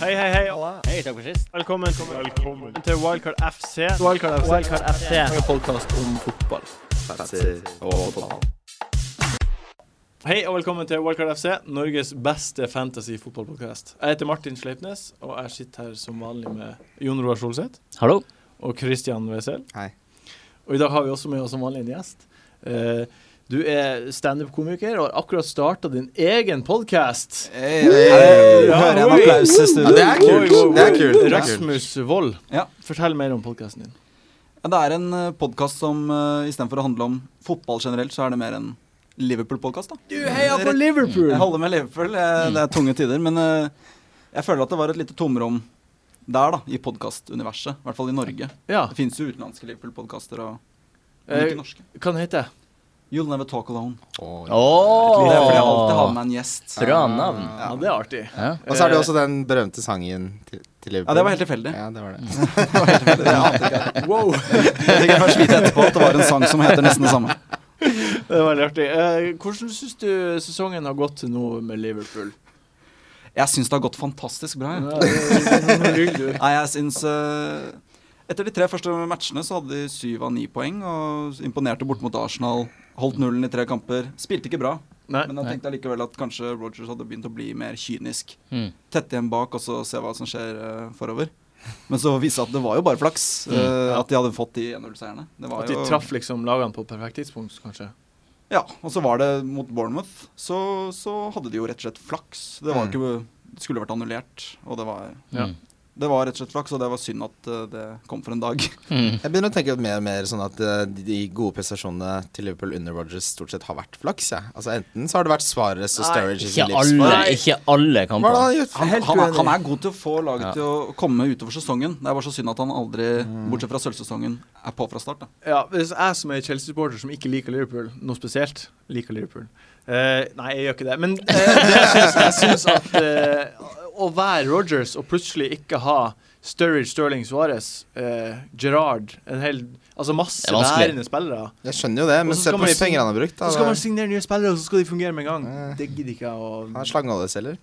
Hei, hei, hei. Hei, takk for sist. Velkommen, til Wildcard FC. Wildcard FC. Wildcard FC. En podkast om fotball. Hei og velkommen til Wildcard FC, Norges beste fantasy-fotballpodkast. Jeg heter Martin Sleipnes, og jeg sitter her som vanlig med Jon Roar Solseth Hallo. og Christian Wesel. Hei. Og i dag har vi også med oss som vanlig en gjest. Eh, Du er standup-komiker og har akkurat starta din egen podkast. Du Ja, hører en oi. applaus i studio. Eh, Ja, det er kult. Det er kult. Det er kult. Rasmus Wold, Ja. fortell mer om podkasten din. Ja, det er en podkast som uh, istedenfor å handle om fotball generelt, så er det mer en Liverpool-podkast. da. Du heia på Liverpool! Jeg holder med Liverpool, Mm. eh, det er tunge tider. Men eh, jeg føler at det var et lite tomrom der, da, i podkastuniverset. I hvert fall i Norge. Ja. Det fins jo utenlandske Liverpool-podkaster, og men Eh, ikke norske. hva den heter den? You'll Never Talk Alone. Det er fordi jeg alltid har Åh. med en gjest. Bra navn. Ja, det er artig. Ja. Og så er det også den berømte sangen til, til Liverpool. Ja, det var helt tilfeldig. Ja, det var det. Eh, Wow! Jeg fikk først vite etterpå at det var en sang som heter nesten det samme. Det var veldig artig. Eh, hvordan syns du sesongen har gått til nå med Liverpool? Jeg syns det har gått fantastisk bra. Jeg. Ja, det- Rygg, du. Nei, jeg syns eh, Etter de tre første matchene så hadde de syv av ni poeng og imponerte bort mot Arsenal. Holdt nullen i tre kamper. Spilte ikke bra, Nei. men jeg tenkte allikevel at kanskje Rogers hadde begynt å bli mer kynisk. Mm. Tette igjen bak og så se hva som skjer eh, forover. Men så viste det seg at det var jo bare flaks eh, at de hadde fått de 1-0-seierne. Det var Mm. At de jo- traff liksom lagene på perfekt tidspunkt, kanskje? Ja, og så var det mot Bournemouth, så, så hadde de jo rett og slett flaks. Det Mm. var ikke, det skulle vært annullert, og det var, Ja. Mm. det var rett og slett flaks, og det var synd at eh, det kom for en dag. Mm. Jeg begynner å tenke mer og mer sånn at eh, de- de gode prestasjonene til Liverpool under Rodgers stort sett har vært flaks. Ja. Altså Enten så har det vært Svares og Nei, Sturridge i Ikke sin alle, livsform. ikke alle Hva er det kamper. han har gjort? Han, Helt han, er, uenig. han er god til å få laget Ja. til å komme utover sesongen. Det er bare så synd at han aldri, Mm. bortsett fra sølvsesongen, er på fra start. Da. Ja, hvis jeg som er Chelsea-supporter som ikke liker Liverpool, noe spesielt, liker Liverpool Eh, Nei, jeg gjør ikke det. Men eh, det jeg syns- jeg syns at eh, å være Rogers og plutselig ikke ha Sturridge, Sterling, Suárez, Gerrard En hel Altså masse Det er vanskelig. lærende spillere. Jeg skjønner jo det, Og så men se skal på hvor man mye si- penger han har brukt. Da. Så skal man signere nye spillere, og så skal de fungere med en gang. Eh. Det gidder ikke jeg å Han er slangeoljeselger.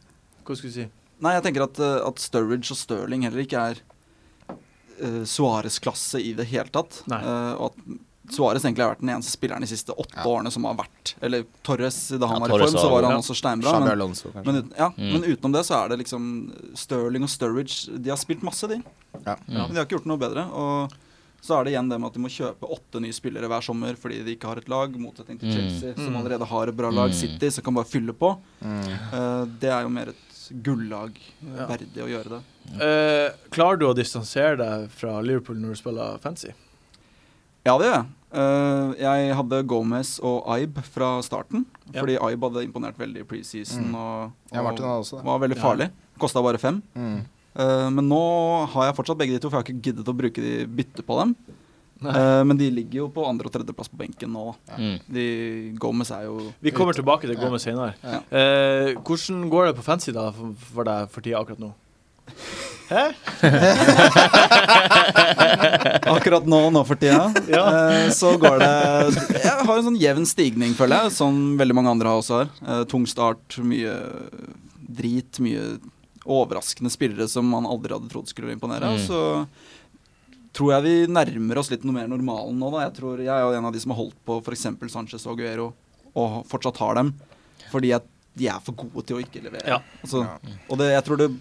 Hva skulle jeg si? Nei, jeg tenker at, eh, at Sturridge og Stirling heller ikke er uh, Suárez-klasse i det hele tatt. Nei. Eh, og at Suárez egentlig har vært den eneste spilleren de siste åtte Ja. årene som har vært Eller Torres, da han Ja, var i Torres form, var så var god, han ja. også steinbra. Shabby Men, Alonso, kanskje. men, uten, ja, Mm. men utenom det så er det liksom Stirling og Sturridge De har spilt masse, de. Ja. Ja. Men de har ikke gjort noe bedre. Og så er det igjen det med at de må kjøpe åtte nye spillere hver sommer fordi de ikke har et lag, motsetning til Mm. Chelsea, som Mm. allerede har et bra lag, Mm. City, som kan bare fylle på. Mm. Eh, det er jo mer et gullag eh, Ja. verdig å gjøre det. Eh, klarer du å distansere deg fra Liverpool når du spiller fancy? Ja, det gjør jeg. Eh, jeg hadde Gomez og Aib fra starten, Ja. fordi Aib hadde imponert veldig i preseason Mm. og, Ja, Martin og har også det. var veldig Ja. farlig. Kosta bare fem. Mm. Eh, men nå har jeg fortsatt begge de to, for jeg har ikke giddet å bruke de bytte på dem. Nei. Eh, men de ligger jo på andre- og tredjeplass på benken nå. da. Mm. De, Gomez er jo Vi kommer tilbake til Gomez senere. Ja. Eh, hvordan går det på fancy da for, for deg for tida akkurat nå? Hæ? Akkurat nå, nå for tida, Ja. eh, så går det Jeg har en sånn jevn stigning, føler jeg, som veldig mange andre har også har. Eh, Tung start, mye drit, mye overraskende spillere som man aldri hadde trodd skulle imponere. Mm. Og så tror jeg vi nærmer oss litt noe mer normalen nå, da. Jeg, tror, jeg er jo en av de som har holdt på f.eks. Sanchez og Aguero, og fortsatt har dem, fordi jeg, de er for gode til å ikke levere. Ja. Altså, Ja. Og det, jeg tror det,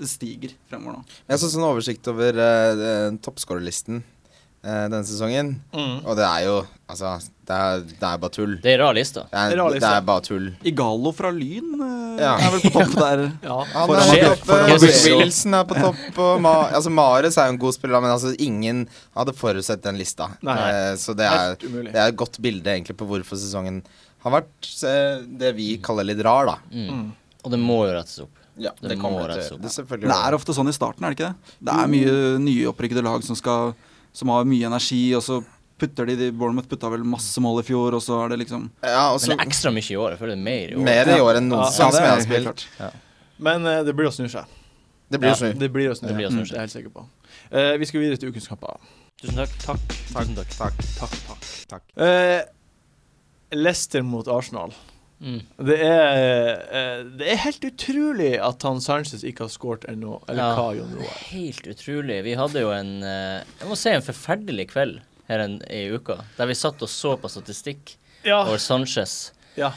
det stiger fremover nå. Jeg så sånn oversikt over uh, toppskårerlisten eh, denne sesongen, Mm. og det er jo Altså, det er, det er bare tull. Det er rar liste. Det er, Rar liste. det er bare tull. Igalo fra Lyn eh, Ja. er vel på topp der. Ja. Han Foran er Madrid. på topp, Foran eh, Madrid. Wilson er på topp, og Ma altså, Mares er jo en god spiller, men altså, ingen hadde forutsett den lista. Nei. Eh, så det er, Helt umulig. det er et godt bilde egentlig på hvorfor sesongen har vært eh, det vi kaller litt rar, da. Mm. Og det må jo rettes opp. Ja, Det må kommer rettes til- opp. Det er selvfølgelig Det er ofte sånn i starten, er det ikke det? Det er mye nyopprykkede lag som, skal, som har mye energi, og så putter de, de Bournemouth putta vel masse mål i fjor, og så er det liksom ja, og Men så det er ekstra mye i år. Jeg føler det er mer i år. mer i år enn noen Ja, sesong som jeg har helt spilt. klart. Men eh, det blir å snu seg. Det blir Ja. jo sju. Det blir å snu seg. Det Mm. blir å snu seg. Det er jeg helt sikker på. Eh, vi skal videre til ukens kamper. Tusen takk. Takk. Tusen takk. Takk. Eh, Leicester mot Arsenal. Mm. Det er, eh, det er helt utrolig at han Sanchez ikke har skåret ennå, eller Ja. hva, Jon Roar. Helt utrolig. Vi hadde jo en eh, Jeg må si en forferdelig kveld her en, i uka, der vi satt og så på statistikk Ja. over Sanchez. ja.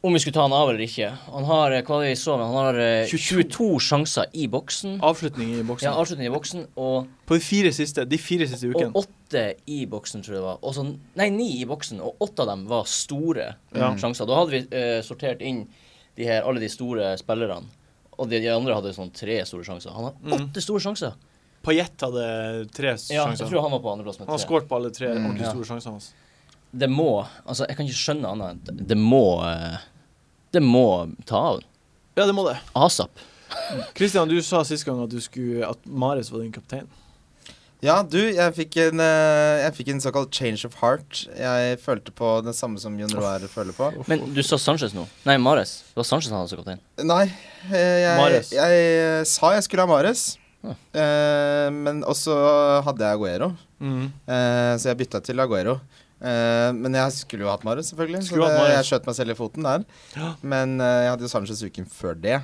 Om vi skulle ta han av eller ikke. Han har eh, hva var det vi så, men han har eh, 22. 22 sjanser i boksen. Avslutning i boksen. Ja, avslutning i boksen, og, På de fire siste, de fire siste ukene. og åtte i boksen, tror jeg det var. Og så, nei, ni i boksen, og åtte av dem var store Ja. sjanser. Da hadde vi eh, sortert inn de her, alle de store spillerne, og de, de andre hadde sånn tre store sjanser. Han har Mm. åtte store sjanser. Payet hadde tre Ja, jeg sjanser. tror han var på andreplass med Han har tre. skåret på alle tre ordentlig Ja. store sjansene hans. Det må Altså, jeg kan ikke skjønne annet enn at det må eh, Det må ta av. Ja, det må det. ASAP. Kristian, du sa sist gang at, du skulle, at Mares var din kaptein. Ja, du, jeg fikk, en, eh, jeg fikk en såkalt change of heart. Jeg følte på det samme som Jon Roar føler på. Men du sa Sanchez nå. Nei, Mares. Det var Sanchez han hadde som kaptein. Nei, eh, jeg, Mahrez. jeg eh, sa jeg skulle ha Mares. Hm. Ja. men også hadde jeg Aguero, Mm. eh, så jeg bytta til Aguero. Eh, men jeg skulle jo hatt Mares, selvfølgelig. Så Skulle hatt det, Mahrez. jeg skjøt meg selv i foten der. Ja. Men eh, jeg hadde jo Sanchez uken før det.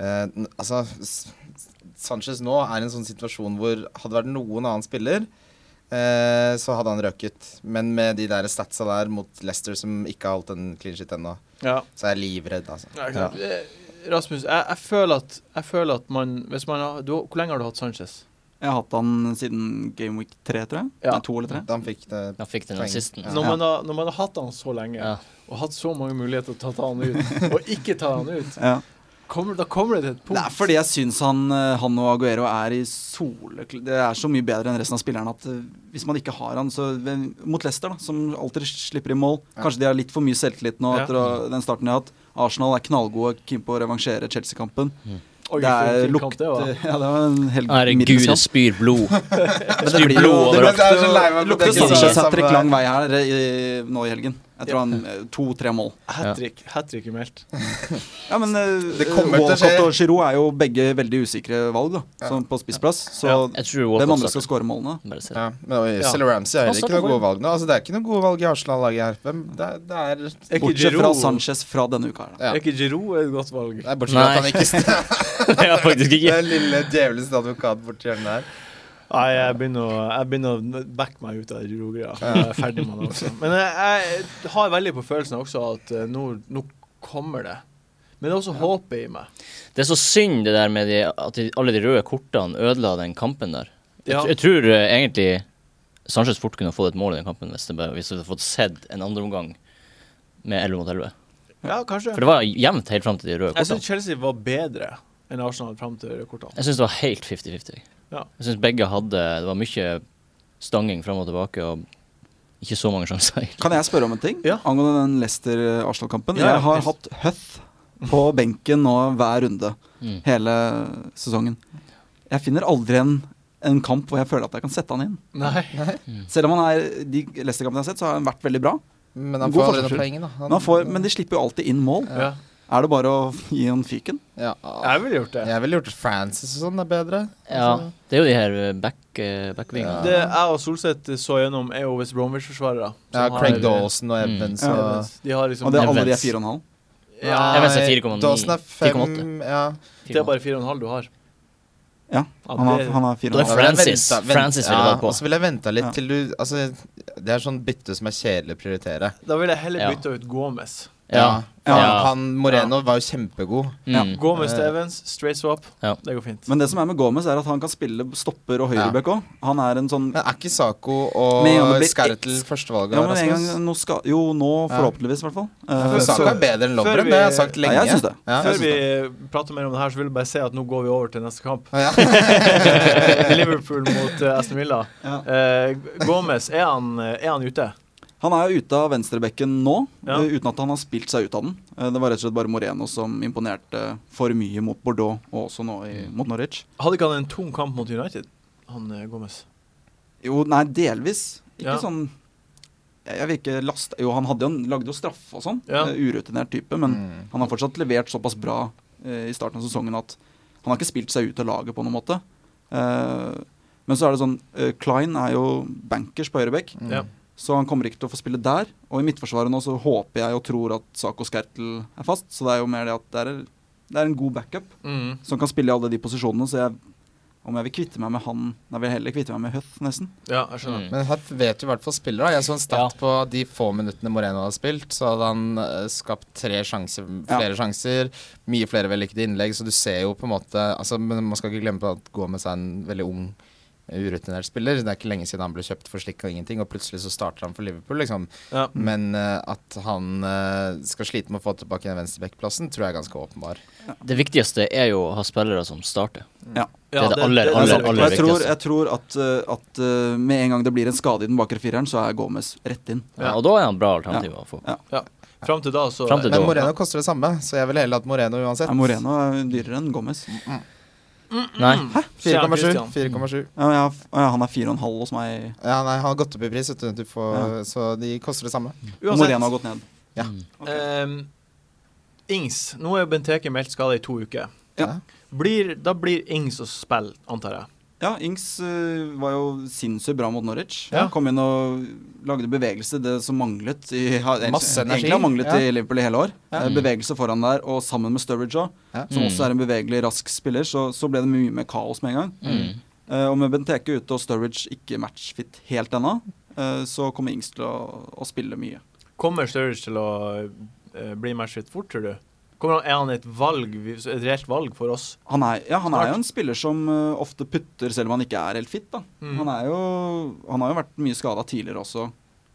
Eh, n- altså, S- Sanchez nå er i en sånn situasjon hvor hadde vært noen annen spiller, eh, så hadde han røket. Men med de der statsa der mot Leicester som ikke har holdt en clean shit ennå, Ja. så er jeg livredd, altså. Ja, ikke sant. Eh, Rasmus, jeg, jeg, føler at, jeg føler at man, hvis man har, du, Hvor lenge har du hatt Sanchez? Jeg har hatt han siden Game Week 3, tror jeg. Ja. Nei, to eller tre. Da han fikk det Han fikk den Poeng. assisten. Ja. Når, man har, når man har hatt han så lenge, Ja. og hatt så mange muligheter til å ta han ut, og ikke ta han ut, Ja. kommer, da kommer det til et punkt. Det er fordi jeg syns han, eh, han og Aguero er i sole... Det er så mye bedre enn resten av spillerne at eh, hvis man ikke har han, så ved- Mot Leicester, da, som alltid slipper i mål. Ja. Kanskje de har litt for mye selvtillit nå Ja. etter å- den starten de har hatt. Arsenal er knallgode, keen på å revansjere Chelsea-kampen. Oi, Det for en er fin kamp lukt eh, det var. Ja, det var en helt Herregud, middels kamp. det spyr blod. Det det spyr blir jo- blod det overalt. Jeg er så lei meg for at Lukter jeg ikke sa det Sanchez samme. hat-trick lang vei her eh, i, nå i helgen. Jeg tror han eh, to-tre mål. Hat trick. Hat trick er meldt. Ja, men eh, Det kommer til å Walcott skje. og Giroud er jo begge veldig usikre valg da, Ja. som på spissplass. Så Jeg tror hvem Walcott andre skal starter. skåre målene? Bare se. Ja, men oi, Ja. Celle Ramsey har Han heller starter ikke noen for- gode valg nå. Altså, det er ikke noen gode valg i Arsenal-laget her. Hvem, det, er- det er Er ikke Bortsett fra Giroud- Sanchez fra denne uka. her da. ja. Er ikke Giroud et godt valg? Nei, bortsett fra Nei. at han ikke st- Jeg har faktisk ikke Den lille djevelens advokat borti hjørnet her. Nei, jeg begynner, å, jeg begynner å backe meg ut av Giroud-greia. Jeg er ferdig med det også. Men jeg, jeg har veldig på følelsen også at eh, nå, nå kommer det. Men det er også håpet i meg. Det er så synd det der med de, at de, alle de røde kortene ødela den kampen der. Jeg, Ja. tr- jeg tror eh, egentlig Sanchez fort kunne fått et mål i den kampen hvis, det bare, hvis du hadde fått sett en andreomgang med 11 mot 11. Ja, kanskje. For det var jevnt helt fram til de røde Jeg kortene. syns Chelsea var bedre enn Arsenal fram til røde kortene. Jeg syns det var helt 50-50. Ja. Jeg syns begge hadde Det var mye stanging fram og tilbake og ikke så mange sjanser. egentlig. Kan jeg spørre om en ting Ja. angående den Leicester-Arsenal-kampen? Ja, ja, jeg har please. hatt Huth på benken nå hver runde Mm. hele sesongen. Jeg finner aldri en, en kamp hvor jeg føler at jeg kan sette han inn. Nei. Selv om han er de Leicester-kampene jeg har sett, så har han vært veldig bra. Men han God får aldri noen forsvarsspill. poeng, da. Han- Men, han får, men de slipper jo alltid inn mål. Ja. Er det bare å gi han fyken? ja. Jeg ville gjort det. Jeg ville gjort Francis og sånn er bedre. Altså, Ja, det er jo de her eh, back, eh, Ja. backvingene. Det jeg og Solseth så gjennom, er jo West Bromwich-forsvarere. som Ja, har- Craig Dawson og Mm. Evans Ja. og De har liksom Og det er alle de er Evans. fire og en halv. ja, Evans er 4,9, Dawson er fem 4,8. ja. Det er bare fire og en halv du har. Ja, Ja, han har, det- han har fire og Det en er halv. Francis. Francis ville vært på. Og så ville jeg venta litt Ja. til du Altså, det er sånn bytte som er kjedelig å prioritere. Da ville jeg heller Ja. bytta ut Gomez. Ja. Han, Ja. han Moreno var jo kjempegod. Ja. Mm. Gomez til Eh. Evans, straight swap. Ja. Det går fint. Men det som er med Gomez, er at han kan spille stopper og høyreback òg. Han er en sånn Men er ikke Sako Men en gang og det blir Skertel ett- førstevalget? Ja, men en gang Rasmus? nå skal Jo, nå forhåpentligvis, i hvert fall. Eh, For så- Sako er bedre enn Før Lovren, vi- det har jeg sagt Ja, lenge. jeg syns det. Ja, Før jeg syns vi det. prater mer om det her, så vil jeg bare si at nå går vi over til neste kamp. Ja. Liverpool mot eh, Aston Villa. Ja. Eh, Gomez, er han, eh, er han ute? Han er jo ute av venstrebekken nå, Ja. eh, uten at han har spilt seg ut av den. Eh, det var rett og slett bare Moreno som imponerte for mye mot Bordeaux, og også nå i, mot Norwich. Hadde ikke han en tung kamp mot United, han eh, Gomez? Jo, nei, delvis. Ikke Ja. sånn jeg, jeg vil ikke laste Jo, han hadde jo, en- lagde jo straffe og sånn. Ja. eh, Urutinert type, men Mm. han har fortsatt levert såpass bra eh, i starten av sesongen at han har ikke spilt seg ut av laget på noen måte. Mm. Eh, men så er det sånn eh, Klein er jo bankers på høyrebekk. Ja. Så han kommer ikke til å få spille der. Og i midtforsvaret nå så håper jeg og tror at Sako Skertel er fast, så det er jo mer det at det er, det er en god backup Mm. som kan spille i alle de posisjonene, så jeg om jeg vil kvitte meg med han Jeg vil jeg heller kvitte meg med Huff, nesten. Ja, jeg Mm. skjønner. Men Huff vet jo i hvert fall spiller, da. Jeg så en stat på de få minuttene Moreno hadde spilt, så hadde han eh, skapt tre sjanser, flere sjanser, mye flere vellykkede innlegg, så du ser jo på en måte altså, Men man skal ikke glemme på at Gomez er en veldig ung, eh, urutinert spiller. Det er ikke lenge siden han ble kjøpt for slikk og ingenting, og plutselig så starter han for Liverpool, liksom. Ja. Men eh, at han eh, skal slite med å få tilbake den venstrebackplassen, tror jeg er ganske åpenbar. Det viktigste er jo å ha spillere som starter. Ja, det er det aller, Og er aller, sant. aller jeg tror, viktigste. jeg tror at, eh, at eh, med en gang det blir en skade i den bakre fireren, så er Gomez rett inn. Ja, og da er han bra alternativ å få. Fram til da, så Fram til da. Men Moreno koster det samme, så jeg ville heller hatt Moreno uansett. Ja, Moreno er dyrere enn Gomez. Nei. 4,7. 4,7. Ja, men jeg, har- å ja, han er 4,5 hos meg. Ja, nei, han har gått opp i pris, vet du, du får, Ja. så de koster det samme. Og Uansett, Moreno har gått ned. Ja. Mm. ehm, Ings. Nå er jo Benteke meldt skada i to uker. Ja. Blir, da blir Ings å spille, antar jeg. Ja, Ings eh, var jo sinnssykt bra mot Norwich. Ja. Kom inn og lagde bevegelse, det som manglet i, har, Masse energi. Egentlig har manglet Ja. i Liverpool i hele år. Ja. Eh, Bevegelse foran der, og sammen med Sturridge òg, Ja. som Mm. også er en bevegelig, rask spiller, så, så ble det mye mer kaos med en gang. Mm. Eh, og med Benteke ute og Sturridge ikke matchfit helt ennå, eh, så kommer Ings til å, å spille mye. Kommer Sturridge til å eh, bli matchfit fort, tror du? Kommer, han- er han et valg, vi- et reelt valg for oss? Han er, ja, han Snart. er jo en spiller som eh, ofte putter selv om han ikke er helt fit. Da. Mm. Han, er jo, han har jo vært mye skada tidligere også,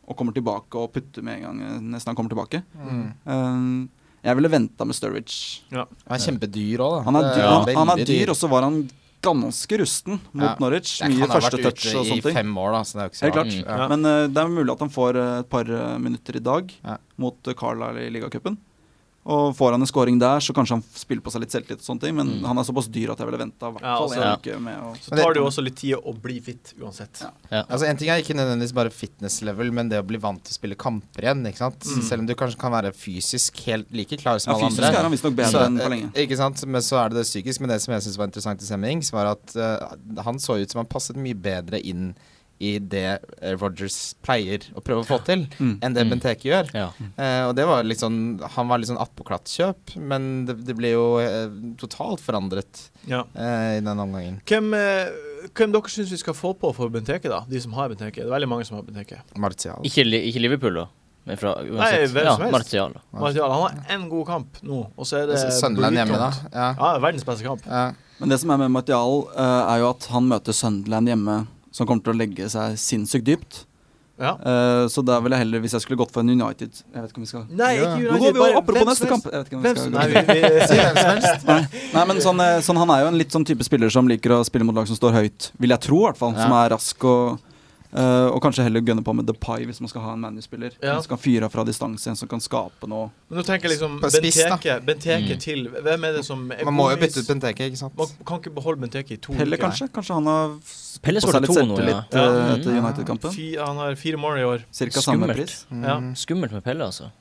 og kommer tilbake og putter med en gang eh, nesten han kommer tilbake. Mm. Eh, jeg ville venta med Sturridge. Han er kjempedyr òg, da. Han er Det dyr, han, han er veldig dyr og så var han ganske rusten mot Ja. Norwich. Ja, Mye han har første vært touch og sånne ute i ting. fem år, da, så det er jo ikke så Helt klart. rart. Ja. Men eh, det er mulig at han får eh, et par eh, minutter i dag Ja. mot eh, Carlisle i ligacupen. Og får han en scoring der, så kanskje han f- spiller på seg litt selvtillit, og sånne ting men Mm. han er såpass dyr at jeg ville venta. Ja, altså, Ja, ja. Så tar det jo også litt tid å bli fit, uansett. Ja. Altså En ting er ikke nødvendigvis bare fitness level, men det å bli vant til å spille kamper igjen. ikke sant? Mm. Selv om du kanskje kan være fysisk helt like klar som alle Fysisk andre. er han visstnok bedre Så, enn på eh, lenge. Ikke sant, men så er det det psykisk. Men det som jeg synes var interessant i Semmings, var at eh, han så ut som han passet mye bedre inn i det eh, Rogers pleier å prøve å få til, Mm. enn det Mm. Benteke gjør. Ja. Eh, og det var litt sånn Han var litt sånn attpåklatt-kjøp, men det, det ble jo eh, totalt forandret Ja. eh, i den omgangen. Hvem, eh, hvem dere syns vi skal få på for Benteke, da? De som har Benteke? Det er veldig mange som har Benteke. Martial. Ikke, Li- ikke Liverpool, da. Men fra Nei, uansett. hvem ja, som helst. Martial. da. Martial, han har én god kamp nå, og så er det Sunderland hjemme, da. blytungt. Ja. Ja, verdens beste kamp. Ja. Men det som er med Martial, eh, er jo at han møter Sunderland hjemme, som kommer til å legge seg sinnssykt dypt. Ja. Eh, så der ville jeg heller, hvis jeg skulle gått for en United Jeg vet ikke om vi skal Nei, ikke Ja. Nå United. går vi jo bare hvem apropos neste som kamp! helst. Jeg vet ikke om vi Hvem skal som gå Nei, videre. vi, vi, Si hvem som helst. Nei, men sånn, eh, sånn, Han er jo en litt sånn type spiller som liker å spille mot lag som står høyt, vil jeg tro. i hvert fall Ja. Som er rask og eh, Og kanskje heller gønne på med Depay hvis man skal ha en ManU-spiller. Ja. En Som kan fyre av fra distanse, en som kan skape noe. Men nå tenker jeg liksom På spiss, da. Benteke, Benteke Mm. til Hvem er det som er Man må jo god bytte vis? ut Benteke, ikke sant? Man kan ikke beholde Benteke i to Pelle, uker. kanskje? Kanskje han har fått Pelle seg skåret litt to nå, ja. selvtillit ja. eh, Ja. etter United-kampen? Fy, han har fire mål i år. Cirka samme Skummelt. pris. Mm. Ja. Skummelt med Pelle, altså.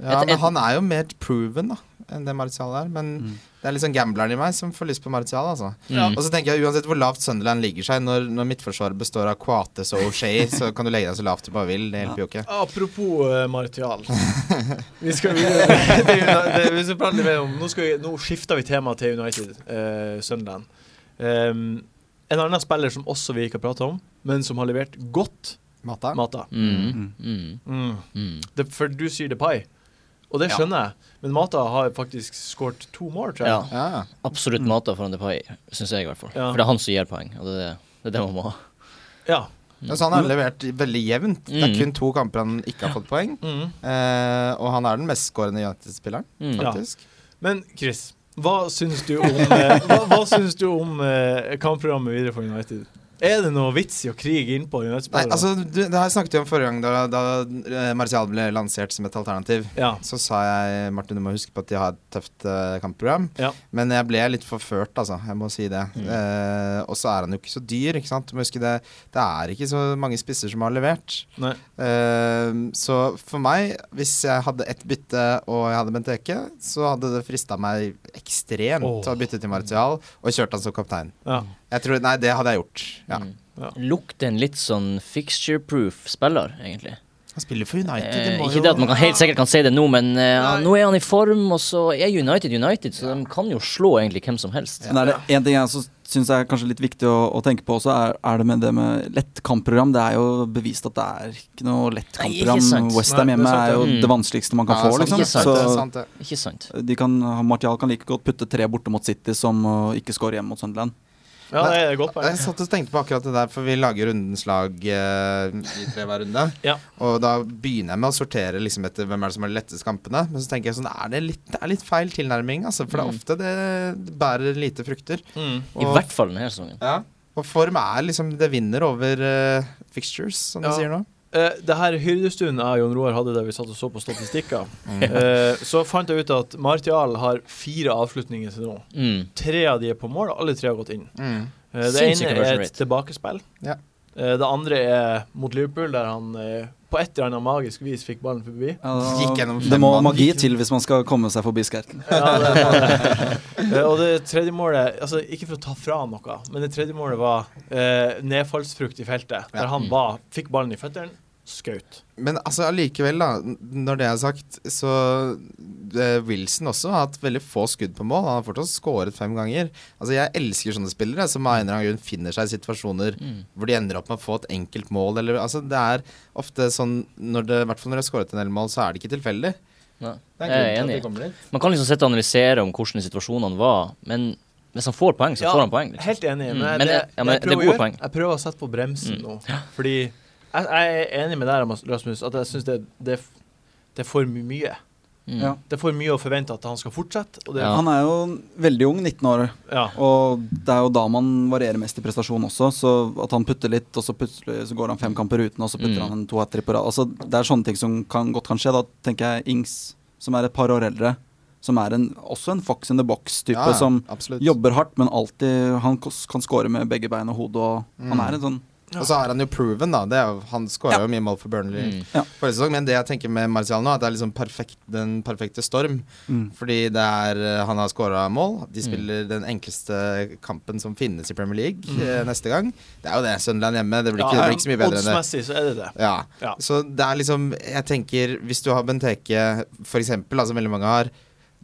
Ja, Et- men et- han er jo mer proven da enn det Martial er. Men Mm. det er litt sånn gambleren i meg som får lyst på Martial. altså Ja. Mm. Og så tenker jeg uansett hvor lavt Sunderland ligger seg, når, når midtforsvaret består av Coates og O'Shea, så kan du legge deg så lavt du bare vil. Det hjelper jo ikke. Apropos eh, Martial. Vi skal videre. Det, er jo- det, vi skal prate litt mer om. Nå, skal vi, nå skifter vi tema til United, uh, Sunderland. Ehm, en annen spiller som også vi ikke har prata om, men som har levert godt, Mata? Mata. Mm. Mm. Mm. Mm. Det, for du sier Depay, og det Ja. skjønner jeg, men Mata har faktisk skåret to mål, tror jeg. Ja. Ja. Absolutt mata foran Depay, syns jeg i hvert fall. Ja. For det er han som gir poeng, og det er det, det, er det man må ha. Ja. Ja, Så han har levert veldig jevnt. Det er Mm. kun to kamper han ikke har fått poeng. Mm. Eh, og han er den mestskårende United-spilleren, Mm. Ja. faktisk. Men Chris, hva syns du om, eh, hva, hva syns du om eh, kampprogrammet videre for United? Er det noe vits i å krige innpå Nei, United-spillere? altså, du, det her snakket vi om forrige gang, da, da eh, Martial ble lansert som et alternativ. ja. Så sa jeg Martin, du må huske på at de har et tøft eh, kampprogram. Ja. Men jeg ble litt forført, altså. Jeg må si det. Mm. Eh, og så er han jo ikke så dyr, ikke sant. Du må huske det. Det er ikke så mange spisser som har levert. Nei. Eh, så for meg, hvis jeg hadde ett bytte og jeg hadde Benteke, så hadde det frista meg ekstremt Åh. å bytte til Martial og kjørt han som kaptein. Ja. Jeg tror, nei, det hadde jeg gjort. Ja. Mm. lukter en litt sånn fixture-proof spiller, egentlig. Han spiller for United. Eh, det må ikke jo- det at man kan, helt sikkert kan si det nå, men eh, Nei. nå er han i form, og så er United United, så de kan jo slå egentlig hvem som helst. Men Sånn er det en ting jeg også syns er kanskje litt viktig å, å tenke på også, er, er det med det med lett kampprogram. Det er jo bevist at det er ikke noe Nei, lett ikke kampprogram. sant. Westham Nei, det er hjemme sant, er jo ja. det vanskeligste man kan Ja, få, sant, liksom. ikke sant, Så Det er sant, det. Ikke sant? de kan, Martial kan like godt putte tre borte mot City som å ikke score hjemme mot Sunderland. Ja, det er et godt Jeg poeng. satt og tenkte på akkurat det der, for vi lager rundens lag eh, i tre hver runde. Ja. Og da begynner jeg med å sortere liksom etter hvem er det som har de letteste kampene. Men så tenker jeg sånn, er det litt, det er litt feil tilnærming, altså. For det er ofte det, det bærer lite frukter. Mm. I Og- hvert fall denne sesongen. Ja. Og form er liksom Det vinner over eh, fixtures, som Ja. de sier nå. Eh, det her hyrdestuen jeg og Jon Roar hadde der vi satt og så på statistikker, eh, så fant jeg ut at Martial har fire avslutninger til nå. Mm. Tre av de er på mål, og alle tre har gått inn. Mm. Eh, det Sinnssyk ene conversion er et rate. tilbakespill. Ja. Eh, det andre er mot Liverpool, der han eh, på et eller annet magisk vis fikk ballen forbi. Ja, da- Gikk gjennom det må fem mann. magi til hvis man skal komme seg forbi Skerken. Ja, det var det. Eh, og det tredje målet altså Ikke for å ta fra noe, men det tredje målet var eh, nedfallsfrukt i feltet. Der Ja. han var, fikk ballen i føttene, skaut. Men altså allikevel, da. n- Når det er sagt, så eh, Wilson også har hatt veldig få skudd på mål. Han har fortsatt skåret fem ganger. Altså Jeg elsker sånne spillere som av en eller annen grunn finner seg i situasjoner Mm. hvor de ender opp med å få et enkelt mål. Eller, altså Det er ofte sånn når det, I hvert fall når de har skåret en del mål, så er det ikke tilfeldig. Ja. Det Jeg er grunnen til enig. at de kommer dit. Man kan liksom sitte og analysere om hvordan situasjonene var, men hvis han får poeng, så Ja, får han poeng. Liksom. Helt enig. Mm, Men, jeg- det, men det- ja, men jeg det er prøver å gode gjøre- poeng. Jeg prøver å sette på bremsen nå. Fordi jeg, jeg er enig med deg, Ramas- Rasmus, at jeg syns det, det, er f- det er for mye. Mm. Ja. Det er for mye å forvente at han skal fortsette. Og det, Ja. Han er jo veldig ung, 19 år, ja. og det er jo da man varierer mest i prestasjon også. Så at han putter litt, og så plutselig så går han fem kamper uten, og så putter Mm. han en to hat trick på rad. Altså, det er sånne ting som kan, godt kan skje. Da tenker jeg Ings, som er et par år eldre, som er en, også en fox in the box-type, Ja, ja, som absolutt. jobber hardt, men alltid Han kos- kan score med begge bein og hodet, og Mm. han er en sånn Og så er han jo proven, da. Det er, jo- han skåra jo mye mål for Burnley Mm. forrige sesong, men det jeg tenker med Martial nå, er at det er liksom perfekt, den perfekte storm. Fordi det er, eh, han har skåra mål. De spiller den enkleste kampen som finnes i Premier League Mm. eh, neste gang. Det er jo det, Sunderland hjemme. Det blir ikke, det blir ikke så mye bedre enn det. Oddsmessig så er det det. Ja. Ja. Så det er liksom Jeg tenker, hvis du har Benteke, for eksempel, da, som veldig mange har,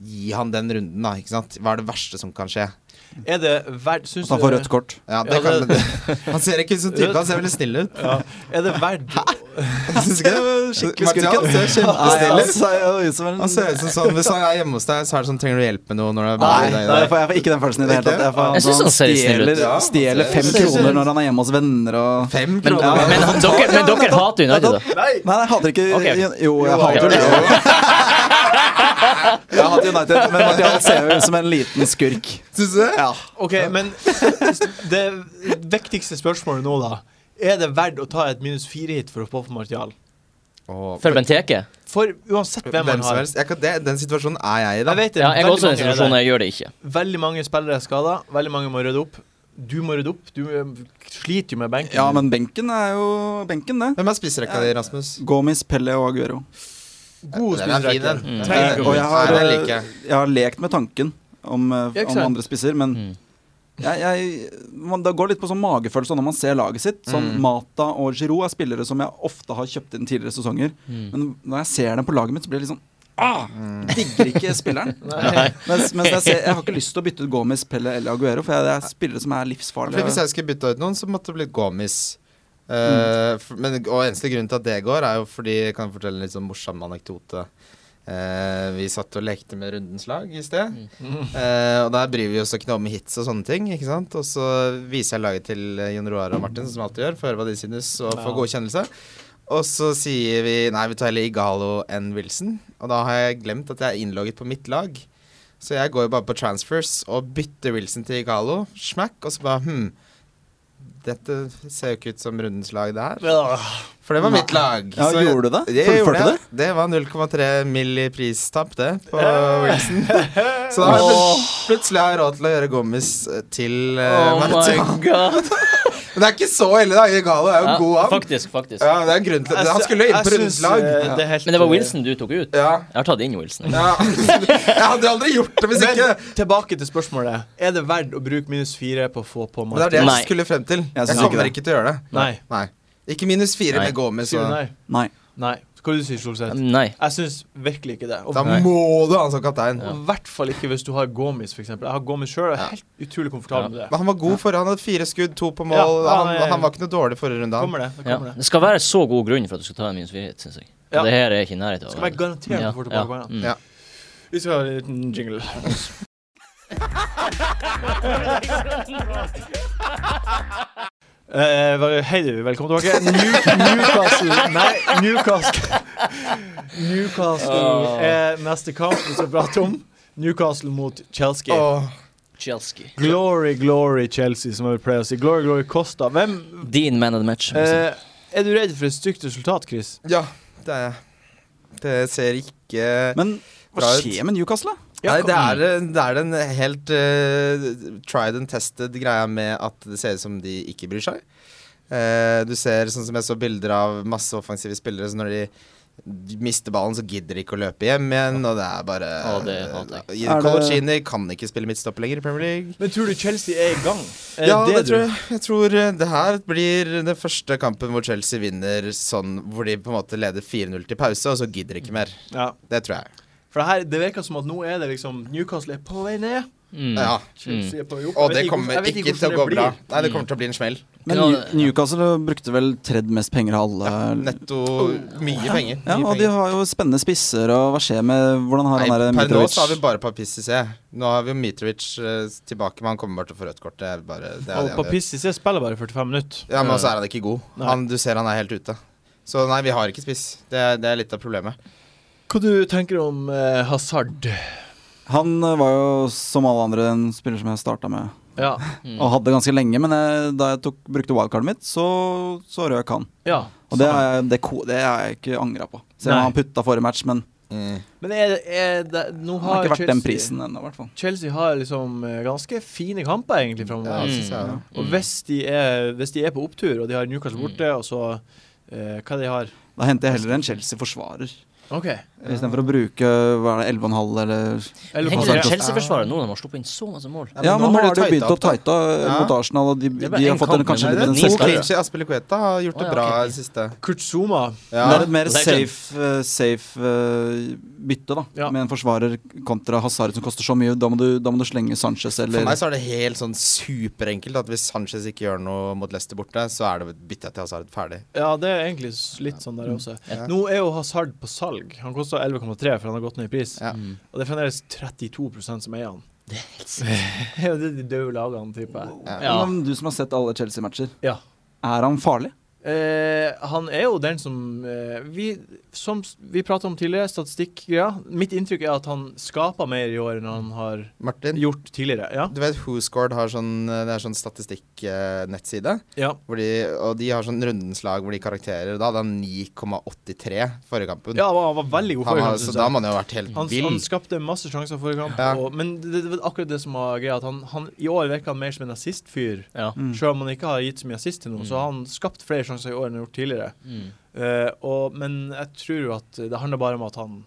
gi han den runden, da. Ikke sant? Hva er det verste som kan skje? Er det verdt Syns At han får rødt kort. Ja, det Ja, kan, det- Han ser ikke ut som type, han ser veldig snill ut. Ja. Er det verdt Syns ikke det? Skikkelig Martial skurk. ser Nei, kjempesnill han ut. ser jo ut som en Han ser ut som sånn Hvis han er hjemme hos deg, så er det sånn Trenger du hjelp med noe? Når det er Nei, veldig- nei, jeg, får, jeg får ikke den følelsen i det hele tatt. Jeg, får- Jeg synes han ser snill ut. stjeler, Ja, han stjeler ser- fem ser- kroner når han er hjemme hos venner og Fem Men, kroner. men, han- dere, men dere hater United, da? Nei, nei, jeg hater ikke Ok. Jo, jeg ok. hater det. Jeg har hatt United, men Martial ser jo ut som en liten skurk. Syns du det? Ja. OK, men det viktigste spørsmålet nå, da. Er det verdt å ta et minus fire-hit for å få på Martial? Åh, For Benteke? For uansett hvem Hvem man som har helst. Jeg kan, det, den situasjonen er jeg i, da. Jeg vet det. Ja, jeg er veldig også i den mange er situasjonen, der. jeg gjør det ikke. Veldig mange spillere er skada. Veldig mange må rydde opp. Du må rydde opp. Du eh, sliter jo med benken. ja, men benken er jo benken, det. Hvem er spissrekka di, Rasmus? Gomis, Pelle og Aguero. God Den er fin, spillrekke. den. Mm. Den Eh, Trenger er fin. og jeg har, Nei, den liker eh, jeg. jeg har lekt med tanken om, eh, Ja, ikke om sant? andre spisser, men Mm. jeg, jeg, man, det går litt på sånn magefølelse når man ser laget sitt. Sånn Mm. Mata og Giroud er spillere som jeg ofte har kjøpt inn tidligere sesonger. Mm. Men når jeg ser dem på laget mitt, så blir det litt sånn ah, Digger ikke spilleren. Nei. Mens, mens jeg, ser, jeg har ikke lyst til å bytte ut Gomez, Pelle eller Aguero, for jeg, det er spillere som er Fordi Hvis livsfarlige. jeg skulle bytta ut noen, så måtte det blitt Gomis. Eh, f- men, og eneste grunnen til at det går, er jo fordi Jeg kan fortelle en litt sånn morsom anekdote. Eh, vi satt og lekte med rundens lag i sted. Eh, og der bryr vi oss ikke noe om hits og sånne ting. Ikke sant? Og så viser jeg laget til eh, Jon Roar og Martin, som alltid gjør, for å høre hva de synes, og få Ja. godkjennelse. Og så sier vi nei, vi tar heller Igalo enn Wilson. Og da har jeg glemt at jeg er innlogget på mitt lag. Så jeg går jo bare på transfers og bytter Wilson til Igalo. Smack. Og så bare hm. Dette ser jo ikke ut som rundens lag, det her. For det var mitt lag. Ja, Så jeg- gjorde du det? Jeg gjorde Fullførte det. Det var 0,3 mill. i pristap, det, på Wilson. Så da har jeg plut- plutselig har jeg råd til å gjøre gommis eh, til eh, Oh Martin. my god. Men det er ikke så ille, da. Igalo er jo Ja, god, han. faktisk, faktisk. Ja, det er grunn til Han skulle jo inn på rundens lag. eh, Men det var Wilson du tok ut. Ja. Jeg har tatt inn Wilson. ja. Jeg hadde jo aldri gjort det hvis Men ikke tilbake til spørsmålet. Er det verdt å bruke minus fire på å få på Men det er det Martin? jeg Nei. skulle frem til. Jeg, synes ikke kommer det. ikke til å gjøre det. Nei. Nei. Ikke minus fire Nei. med Gomez. Sier du Og... nei? Nei. Nei. Hva du sier du, Solseth? Nei. Jeg syns virkelig ikke det. Og Da Nei. må du ha han som kaptein. og i hvert fall ikke hvis du har Gomis, f.eks. Jeg har Gomis sjøl, og jeg er helt utrolig komfortabel med det. Men han var god forrige. Han hadde fire skudd, to på mål. Ja, han han, er- han var ikke noe dårlig forrige runde. Han. Kommer det? det, Ja. kommer det. Det skal være så god grunn for at du skal ta en minus 4, syns jeg. Ja. Og det her er ikke i nærheten av Skal være garantert Ja, å få tilbake ja, på banen. mm. Ja. Vi skal ha en liten jingle. Eh, vel- Hei, du. Velkommen tilbake. New, Newcastle Nei, Newcastle Newcastle Åh. er neste kamp vi skal prate om. Newcastle mot Chelsea. Åh, Chelsea. Glory, glory Chelsea, som vi pleier å si. Glory, glory Costa. Hvem Din man of the match. eh, Er du redd for et stygt resultat, Chris? ja, det er jeg. Det ser ikke Men hva Bra ut. skjer med Newcastle? Nei, det Mm. er, eh, det er den helt eh, tried and tested greia med at det ser ut som de ikke bryr seg. Eh, du ser sånn som jeg så bilder av masse offensive spillere, så når de de mister ballen, så gidder de ikke å løpe hjem igjen, og det er bare Å, det hater Er det- Colocini kan ikke spille midtstopper lenger i Premier League. Men tror du Chelsea er i gang? Er Ja, det, du- tror jeg. Jeg tror eh, det her blir den første kampen hvor Chelsea vinner sånn hvor de på en måte leder 4-0 til pause, og så gidder de ikke mer. Ja. Det tror jeg. For det, her, det virker som at nå er det liksom Newcastle er på vei ned. Mm. Ja. Chelsea er på vei opp. Jeg vet Og det ikke kommer hvordan- jeg vet ikke, hvordan til å gå det bra. blir. Nei, det kommer til å bli en smell. Men Ja, New- det- Newcastle brukte vel tredd mest penger av alle. Netto mye penger. Ja, Mye og de penger. har jo spennende spisser, og hva skjer med Hvordan har han Nei, der per nå så har vi Mitrovic? bare Papissi C. Nå har vi jo Mitrovic eh, tilbake, men han kommer bare til å få rødt kort. Det er bare det er Og det han gjør. Papissi ser spiller bare 45 minutter. Ja, Men også er han ikke god. Nei. Han, du ser han er helt ute. Så nei, vi har ikke spiss. Det, er- det er litt av problemet. Hva du tenker du om eh, Hazard? Han eh, var jo som alle andre en spiller som jeg starta med, Ja. Mm. og hadde ganske lenge. Men jeg, da jeg tok, brukte wildcardet mitt, så, så røk han. ja. Og det er, jeg- det, ko- det er jeg ikke angra på. Selv Nei. om han putta forrige match, men Mm. Men er, er det Nå han har har ikke vært den Chelsea- prisen ennå, i hvert fall. Chelsea har liksom eh, ganske fine kamper egentlig Ja, framover. Mm. synes jeg. Og hvis de, er, hvis de er på opptur, og de har Newcastle borte, og så eh, Hva de har Da henter jeg heller en Chelsea-forsvarer. OK. Istedenfor å bruruke hva er det, 11,5 eller Eller Tenk Hazard deg koster- sånn, Chelsea-forsvaret nå, de har sluppet inn så masse mål. Ja, Ja, men nå har har de jo begynt å tighta opp, da. tighte Ja. mot Arsenal, og de, Det de er bare en har fått en, kamp, kanskje Nei, litt det er en to siste. siste. clincher. Aspelikueta har Å, gjort det ja, bra ok, ok. i det siste. Kurt Zuma Det Ja. er et mer Legend. safe, eh, safe eh, bytte, da. Ja. Med en forsvarer kontra Hazard som koster så mye. Da må du, da må du slenge Sanchez For eller meg så er det helt sånn superenkelt at hvis Sanchez ikke gjør noe mot Leicester borte, så er det bytta til Hazard ferdig. Ja, det er egentlig s- litt sånn der også. Ja. Nå er jo Hazard på salg. Han koster 11,3 for han har gått ned i pris. Ja. Mm. Og det er fremdeles 32 som eier han. Det er jo det de døde lagene, tipper jeg. Ja. Men Du som har sett alle Chelsea-matcher, Ja. er han farlig? Eh, han er jo den som eh, Vi, som s- vi prata om tidligere, statistikkgreia. Mitt inntrykk er at han skaper mer i år enn han har Martin, gjort tidligere. Ja. du vet WhoScored har sånn, det er sånn eh, statistikknettside, ja. hvor de, og de har sånn rundens lag hvor de karakterer. og Da hadde han 9,83 forrige kampen. ja han, var, han var veldig god han forrige har, kamp, så synes da jeg. må han jo ha vært Mm. helt Han, vill. han skapte masse sjanser forrige kamp, Ja. og, men det, det var akkurat det som var greia. At han, han, I år virker han mer som en assist-fyr. Ja. Mm. Selv om han ikke har gitt så mye assist til noen, Mm. så har han skapt flere sjanser i år enn han har gjort tidligere. Mm. Eh, og, men jeg tror jo at det handler bare om at han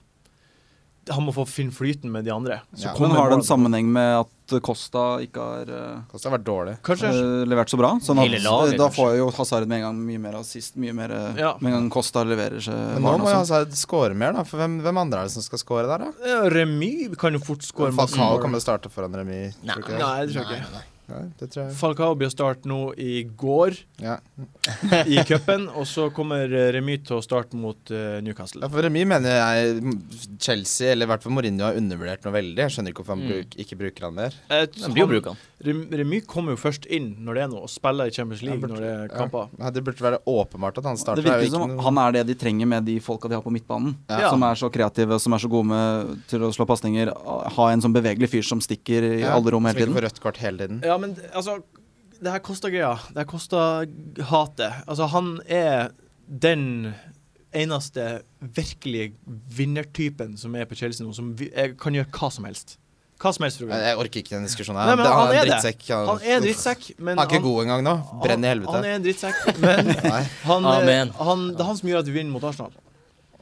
Han må få finne flyten med de andre. Så Ja. kommer Men har det en målene. sammenheng med at Costa ikke har eh, Kosta har vært dårlig. Kanskje. eh, levert så bra? Sånn at, Hele laget, eh, da kanskje. får jo Hazard med en gang mye mer assist, mye mer eh, Ja. Med en gang Costa leverer seg. Men nå varen må også. jo Hazard score mer, da. For hvem, hvem andre er det som skal score der, da? Ja, Remy kan jo fort skåre masse Falcao mål. kommer til å starte foran Remy. Nei. tror du ikke det? Nei, det tror jeg ikke. Nei, det tror jeg. Falcao blir å starte nå i går Ja. i cupen, og så kommer eh, Remy til å starte mot eh, Ja, Newcastle. for Remy mener jeg Chelsea, eller i hvert fall Mourinho, har undervurdert noe veldig. Jeg skjønner ikke hvorfor han Mm. bruk, ikke bruker han mer. Jeg De Eh, Sånn blir jo tror han- bruka. Rem- Remy kommer jo først inn når det er noe, og spiller i Champions Ja, League burde- når det er ja. kamper. Nei, Det burde være åpenbart at han starter. Det virker er jo som ikke noe- han er det de trenger med de folka de har på midtbanen. Ja. Som er så kreative og som er så gode med til å slå pasninger. Ha en sånn bevegelig fyr som stikker i Ja, alle rom som hele ikke tiden. får rødt kort hele tiden. Ja, men altså Det her koster greia. Det her koster hatet. Altså, han er den eneste virkelige vinnertypen som er på Chelsea nå, som vi- er- kan gjøre hva som helst. Hva som helst, tror jeg. Jeg orker ikke den diskusjonen Nei, her. men Det- han Han er en er det. drittsekk. Han, Han er drittsekk, men Han er ikke god engang nå. Brenn i han- Han helvete. er en drittsekk, men Nei. han, eh, Amen. han, det er han som gjør at vi vinner mot Arsenal.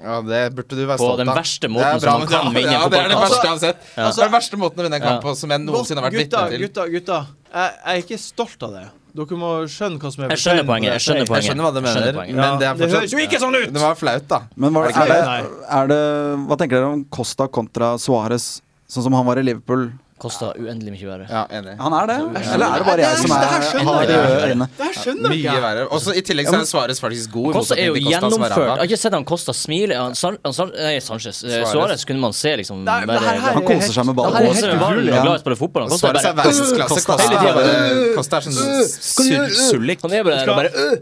Ja, det burde du være På stolt av. den verste Det er måten bra, som man men- kan vinne ja, en Det er den fotballkamp. verste jeg har sett. Det er den verste måten å vinne en kamp på som jeg noensinne har vært gutta, vitne til. gutta, gutta. Jeg, jeg er ikke stolt av det. Dere må skjønne hva som er Jeg skjønner forskjellen på poenget. det Jeg skjønner sier. poenget. Jeg skjønner hva du Jeg skjønner mener, Ja, poenget. men det er det høres fortsatt jo ikke sånn Det ut! var flaut, da. Men hva, Er er, det ikke det, det? er det Hva tenker dere om Costa kontra Suárez, sånn som han var i Liverpool? Kosta uendelig mye verre. Ja, enig. Han er det? skjønner Eller er det bare det. jeg som Det er her skjønner har jeg. røde øyne? Det her skjønner jeg Mye ikke. verre. Også I tillegg så er Svares faktisk god. i Kosta er motsetning jo til Costa, som er gjennomført. Jeg ræva. har ikke sett han Kosta smile. Han, San, han, San, nei, Sanchez. Eh, Suarez. Suarez kunne man se liksom Det er- det her- her er Han helt- Han koser seg med det her ballen. er helt koser med ballen og utrolig. er glad i å spille fotball. Han Costa er Svares er bare verdensklasse. Costa- Costa hele tiden er, bare, øh, Costa er sånn sur- sullik. Han er bare der og bare øh.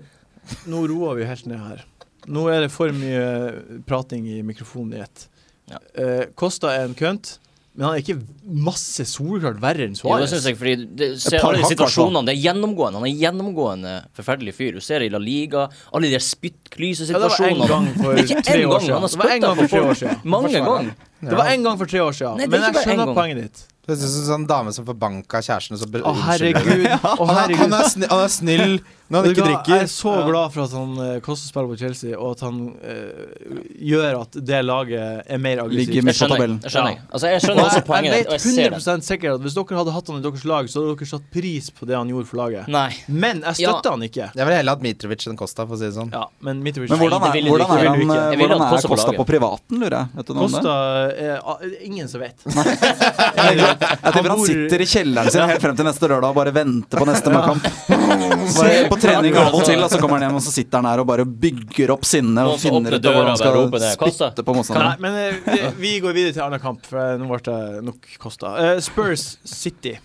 Nå roer vi helt ned her. Nå er det for mye øh, prating i mikrofonen i ett. Ja. Eh, Kosta er en kønt, men han er ikke masse soleklart verre enn Jo, det Suárez. synes jeg, fordi det, ser Et par alle de hakk, situasjonene. Det er gjennomgående. Han er gjennomgående forferdelig fyr. Du ser det i La Liga, alle de der Ja, det var en spyttklyse-situasjonene. gang for Ikke tre en år gang, siden. han har Det var en gang for tre år siden. Mange ganger. Det var en gang for tre år siden, Nei, det er men ikke jeg bare en skjønner gang. poenget ditt. Det er sånn sånn dame som forbanka kjæresten, og så be- Å, unnskylder du. herregud. Å, Han, herregud. han, er snill, han er snill når han Vet du ikke hva, drikker. Jeg er så glad for at han eh, Kosta spiller på Chelsea, og at han eh, gjør at det laget er mer Ligger aggressivt. med- Jeg skjønner, jeg skjønner. Altså, jeg skjønner Og også jeg, jeg poenget ditt, vet og jeg ser det. 100 sikkert at hvis dere hadde hatt han i deres lag, så hadde dere satt pris på det han gjorde for laget. Nei. Men jeg Ja. støtter han ikke. Jeg ville heller hatt Mitrovic enn Costa, for å si det sånn. Ja, men Mitrovic Men hvordan Nei, det er, vil du hvordan ikke. er, Det vil han, du ikke. eh, Jeg vil hvordan at Costa er på Costa laget. på privaten, lurer jeg? Vet du noe om det? Kosta eh, ah, Ingen som vet. Jeg tipper han bor- sitter i kjelleren sin helt frem til neste lørdag og bare venter på neste kamp. Bare på trening av og til, og så kommer han hjem og så sitter han her og bare bygger opp sinnet og Noen som åpner finner ut av døra hvordan og roper han det, skal Costa. spytte på Nei, motstanderen. men eh, vi, vi går videre til annen kamp, for eh, nå ble det nok Kosta. Eh, Spurs City.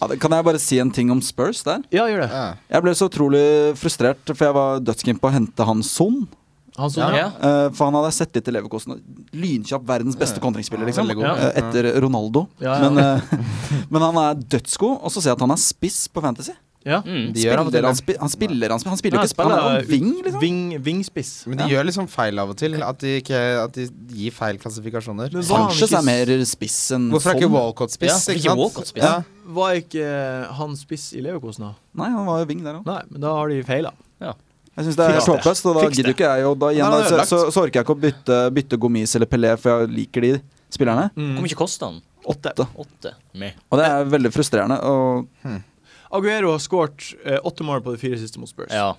Ja, det- Kan jeg bare si en ting om Spurs der? Ja, gjør det. Ja. Jeg ble så utrolig frustrert, for jeg var dødskeen på å hente han Son. Han som Ja. Ja. eh, For han hadde jeg sett litt i Leverkosten. Lynkjapp, verdens beste kontringsspiller, liksom. Ja. Veldig god. Eh, Etter Ronaldo. Ja, ja. Men, eh, men han er dødsgod, og så ser jeg at han er spiss på Fantasy. Ja. Mm. De gjør av og til Spiller, han, det. spi han spiller, han spiller, han spiller Ja, jo ikke spiller, han er spiller, jo wing, liksom. Ving, vingspiss. Men de gjør liksom feil av og til. At de, ikke, at de gir feil klassifikasjoner. Men sånn- hva- Sanchez han er ikke- mer spiss enn Hvorfor er ikke Son. Walcott Sånn- Ja, spiss? hvorfor ikke Walcott spiss? Ja. Var ikke eh, han spiss i Leverkosen, da? Nei, han var jo wing der òg. Nei, men da har de feila. Jeg syns det er Fiks det. håpløst, og da Fiks gidder det. ikke jeg. Og da, igjen, Nei, det er da, ødelagt. så, så orker jeg ikke å bytte, bytte Gomis eller Pelé, for jeg liker de spillerne. Hvor mye kosta han? Åtte. Åtte? Og det er veldig frustrerende. Og Aguero har skåret eh, åtte mål på de fire siste mot Spurs. Ja.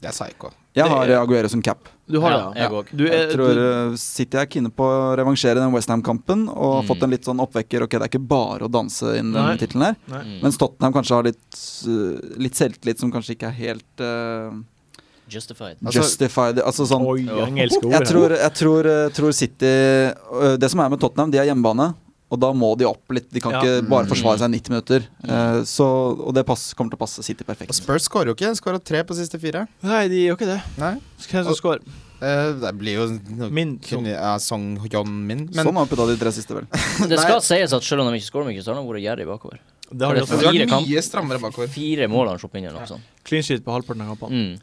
Det er psycho. jeg har Aguero som cap. Du har Ja, det, jeg òg. Du er, Jeg tror du, eh, City er keen på å revansjere den Westham-kampen og Mm. fått en litt sånn oppvekker. Ok, det er ikke bare å danse inn Nei. den tittelen her. nei. Mm. Mens Tottenham kanskje har litt, eh, litt selvtillit som kanskje ikke er helt eh, Justified. Altså- justified. Altså sånn Oi, Ja. engelske ord. Jeg her. tror, jeg tror, jeg tror City øh, Det som er med Tottenham, de er hjemmebane. Og da må de opp litt. De kan Ja. ikke bare Mm. forsvare seg 90 minutter. Eh, så, og det pass, kommer til å passe City perfekt. Og Spurs skårer jo ikke. Skåra tre på siste fire. Nei, de gjør ikke det. Nei. Hvem som skårer? Eh, det blir jo noe Min. kun, ja, Song Yon Min. Men sånn har vi putta de tre siste, vel. Altså- Men det Nei. skal sies at selv om de ikke skårer mye, så har de vært gjerrig bakover. Det har de Det også. det er har fire vært kamp- mye strammere bakover. Fire mål har han sluppet inn. eller noe sånt. Clean sheet på halvparten av kampene. Mm.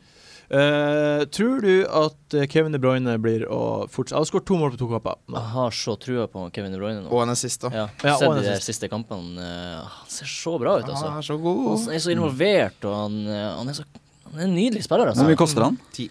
Eh, tror du at eh, Kevin De Bruyne blir å fortsette Jeg har skåret to mål på to kamper. Nå. Jeg har så trua på Kevin De Bruyne nå. Og en assist òg. Ja, Ja, Sett og de en der assist. siste kampene. eh, Han ser så bra ut, altså. Han er så god. Han er så involvert, og han, eh, han, er, så, han er en nydelig spiller. Hvor Altså. mye koster han? Ti.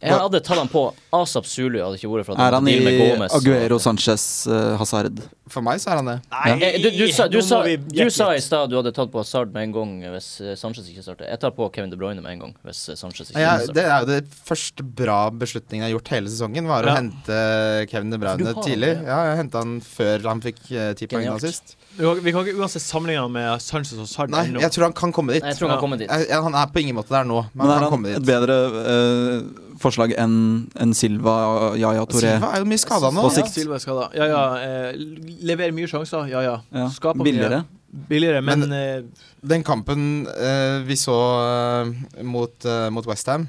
Jeg hadde tallene på Asap Zulu, hadde ikke vært for at Er han i deal med Gomez. Aguero, Sanchez, eh, Hazard? For meg så er han det. Eh, Du, du, sa, du, nå sa, må vi du jekke sa i litt. stad du hadde tatt på Hazard med en gang hvis eh, Sanchez ikke starter. Jeg tar på Kevin De Bruyne med en gang hvis eh, Sanchez ikke Ja, starter. det er jo det første bra beslutningen jeg har gjort hele sesongen, var Ja. å hente Kevin De For du Bruyne har tidlig. det. Ja, jeg henta han før han fikk eh, ti poeng nå Genialt. sist. Vi kan- Vi kan ikke uansett sammenligne han med Sanchez og Sard. Nei, jeg tror han kan komme dit. Nei, jeg tror han Ja. har kommet dit. Jeg- jeg- Han er på ingen måte der nå, men Men han er kan han komme et dit. bedre øh, forslag enn enn Silva, Yaya Toré? Silva er jo mye skada nå. På ja, sikt. Silva er skadet. Ja, ja. Eh, leverer mye sjanser. Ja, ja. Ja. Skaper Billigere. mye. Billigere, men, Men- eh, Den kampen eh, vi så eh, mot, uh, mot Westham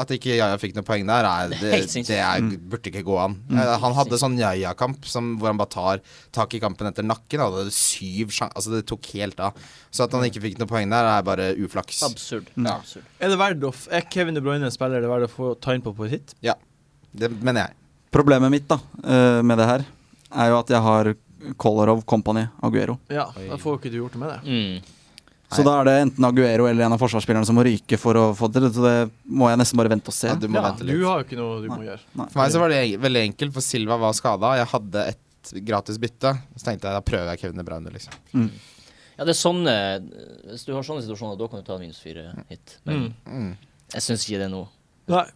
at ikke Jaja fikk noen poeng der, er, er det, helt sinnssykt. det er, Mm. burde ikke gå an. Eh, han hadde sånn Jaja-kamp som- hvor han bare tar tak i kampen etter nakken. Han hadde syv sjan- altså Det tok helt av. Så at han ikke fikk noen poeng der, er bare uflaks. Absurd. Mm. Ja. Absurd. er det verdt å f- Er Kevin De Bruyne en spiller det er verdt å få ta inn på på et hit? Det mener jeg. Problemet mitt da, eh, med det her er jo at jeg har Kolarov, Company, Aguero. Ja, Oi. da får jo ikke du gjort noe med det. Mm. Så da er det enten Aguero eller en av forsvarsspillerne som må ryke for å få det. Så det må jeg nesten bare vente og se. Ja, du må Ja, vente du litt. har jo ikke noe du må gjøre. For meg så var det eng- veldig enkelt, for Silva var skada. Jeg hadde et gratis bytte. Så tenkte jeg da prøver jeg Kevin De Bruyne, liksom. Ja, det er sånne Hvis du har sånne situasjoner, da kan du ta en minus fire hit. Men Mm. Mm. jeg syns ikke det er noe. Nei.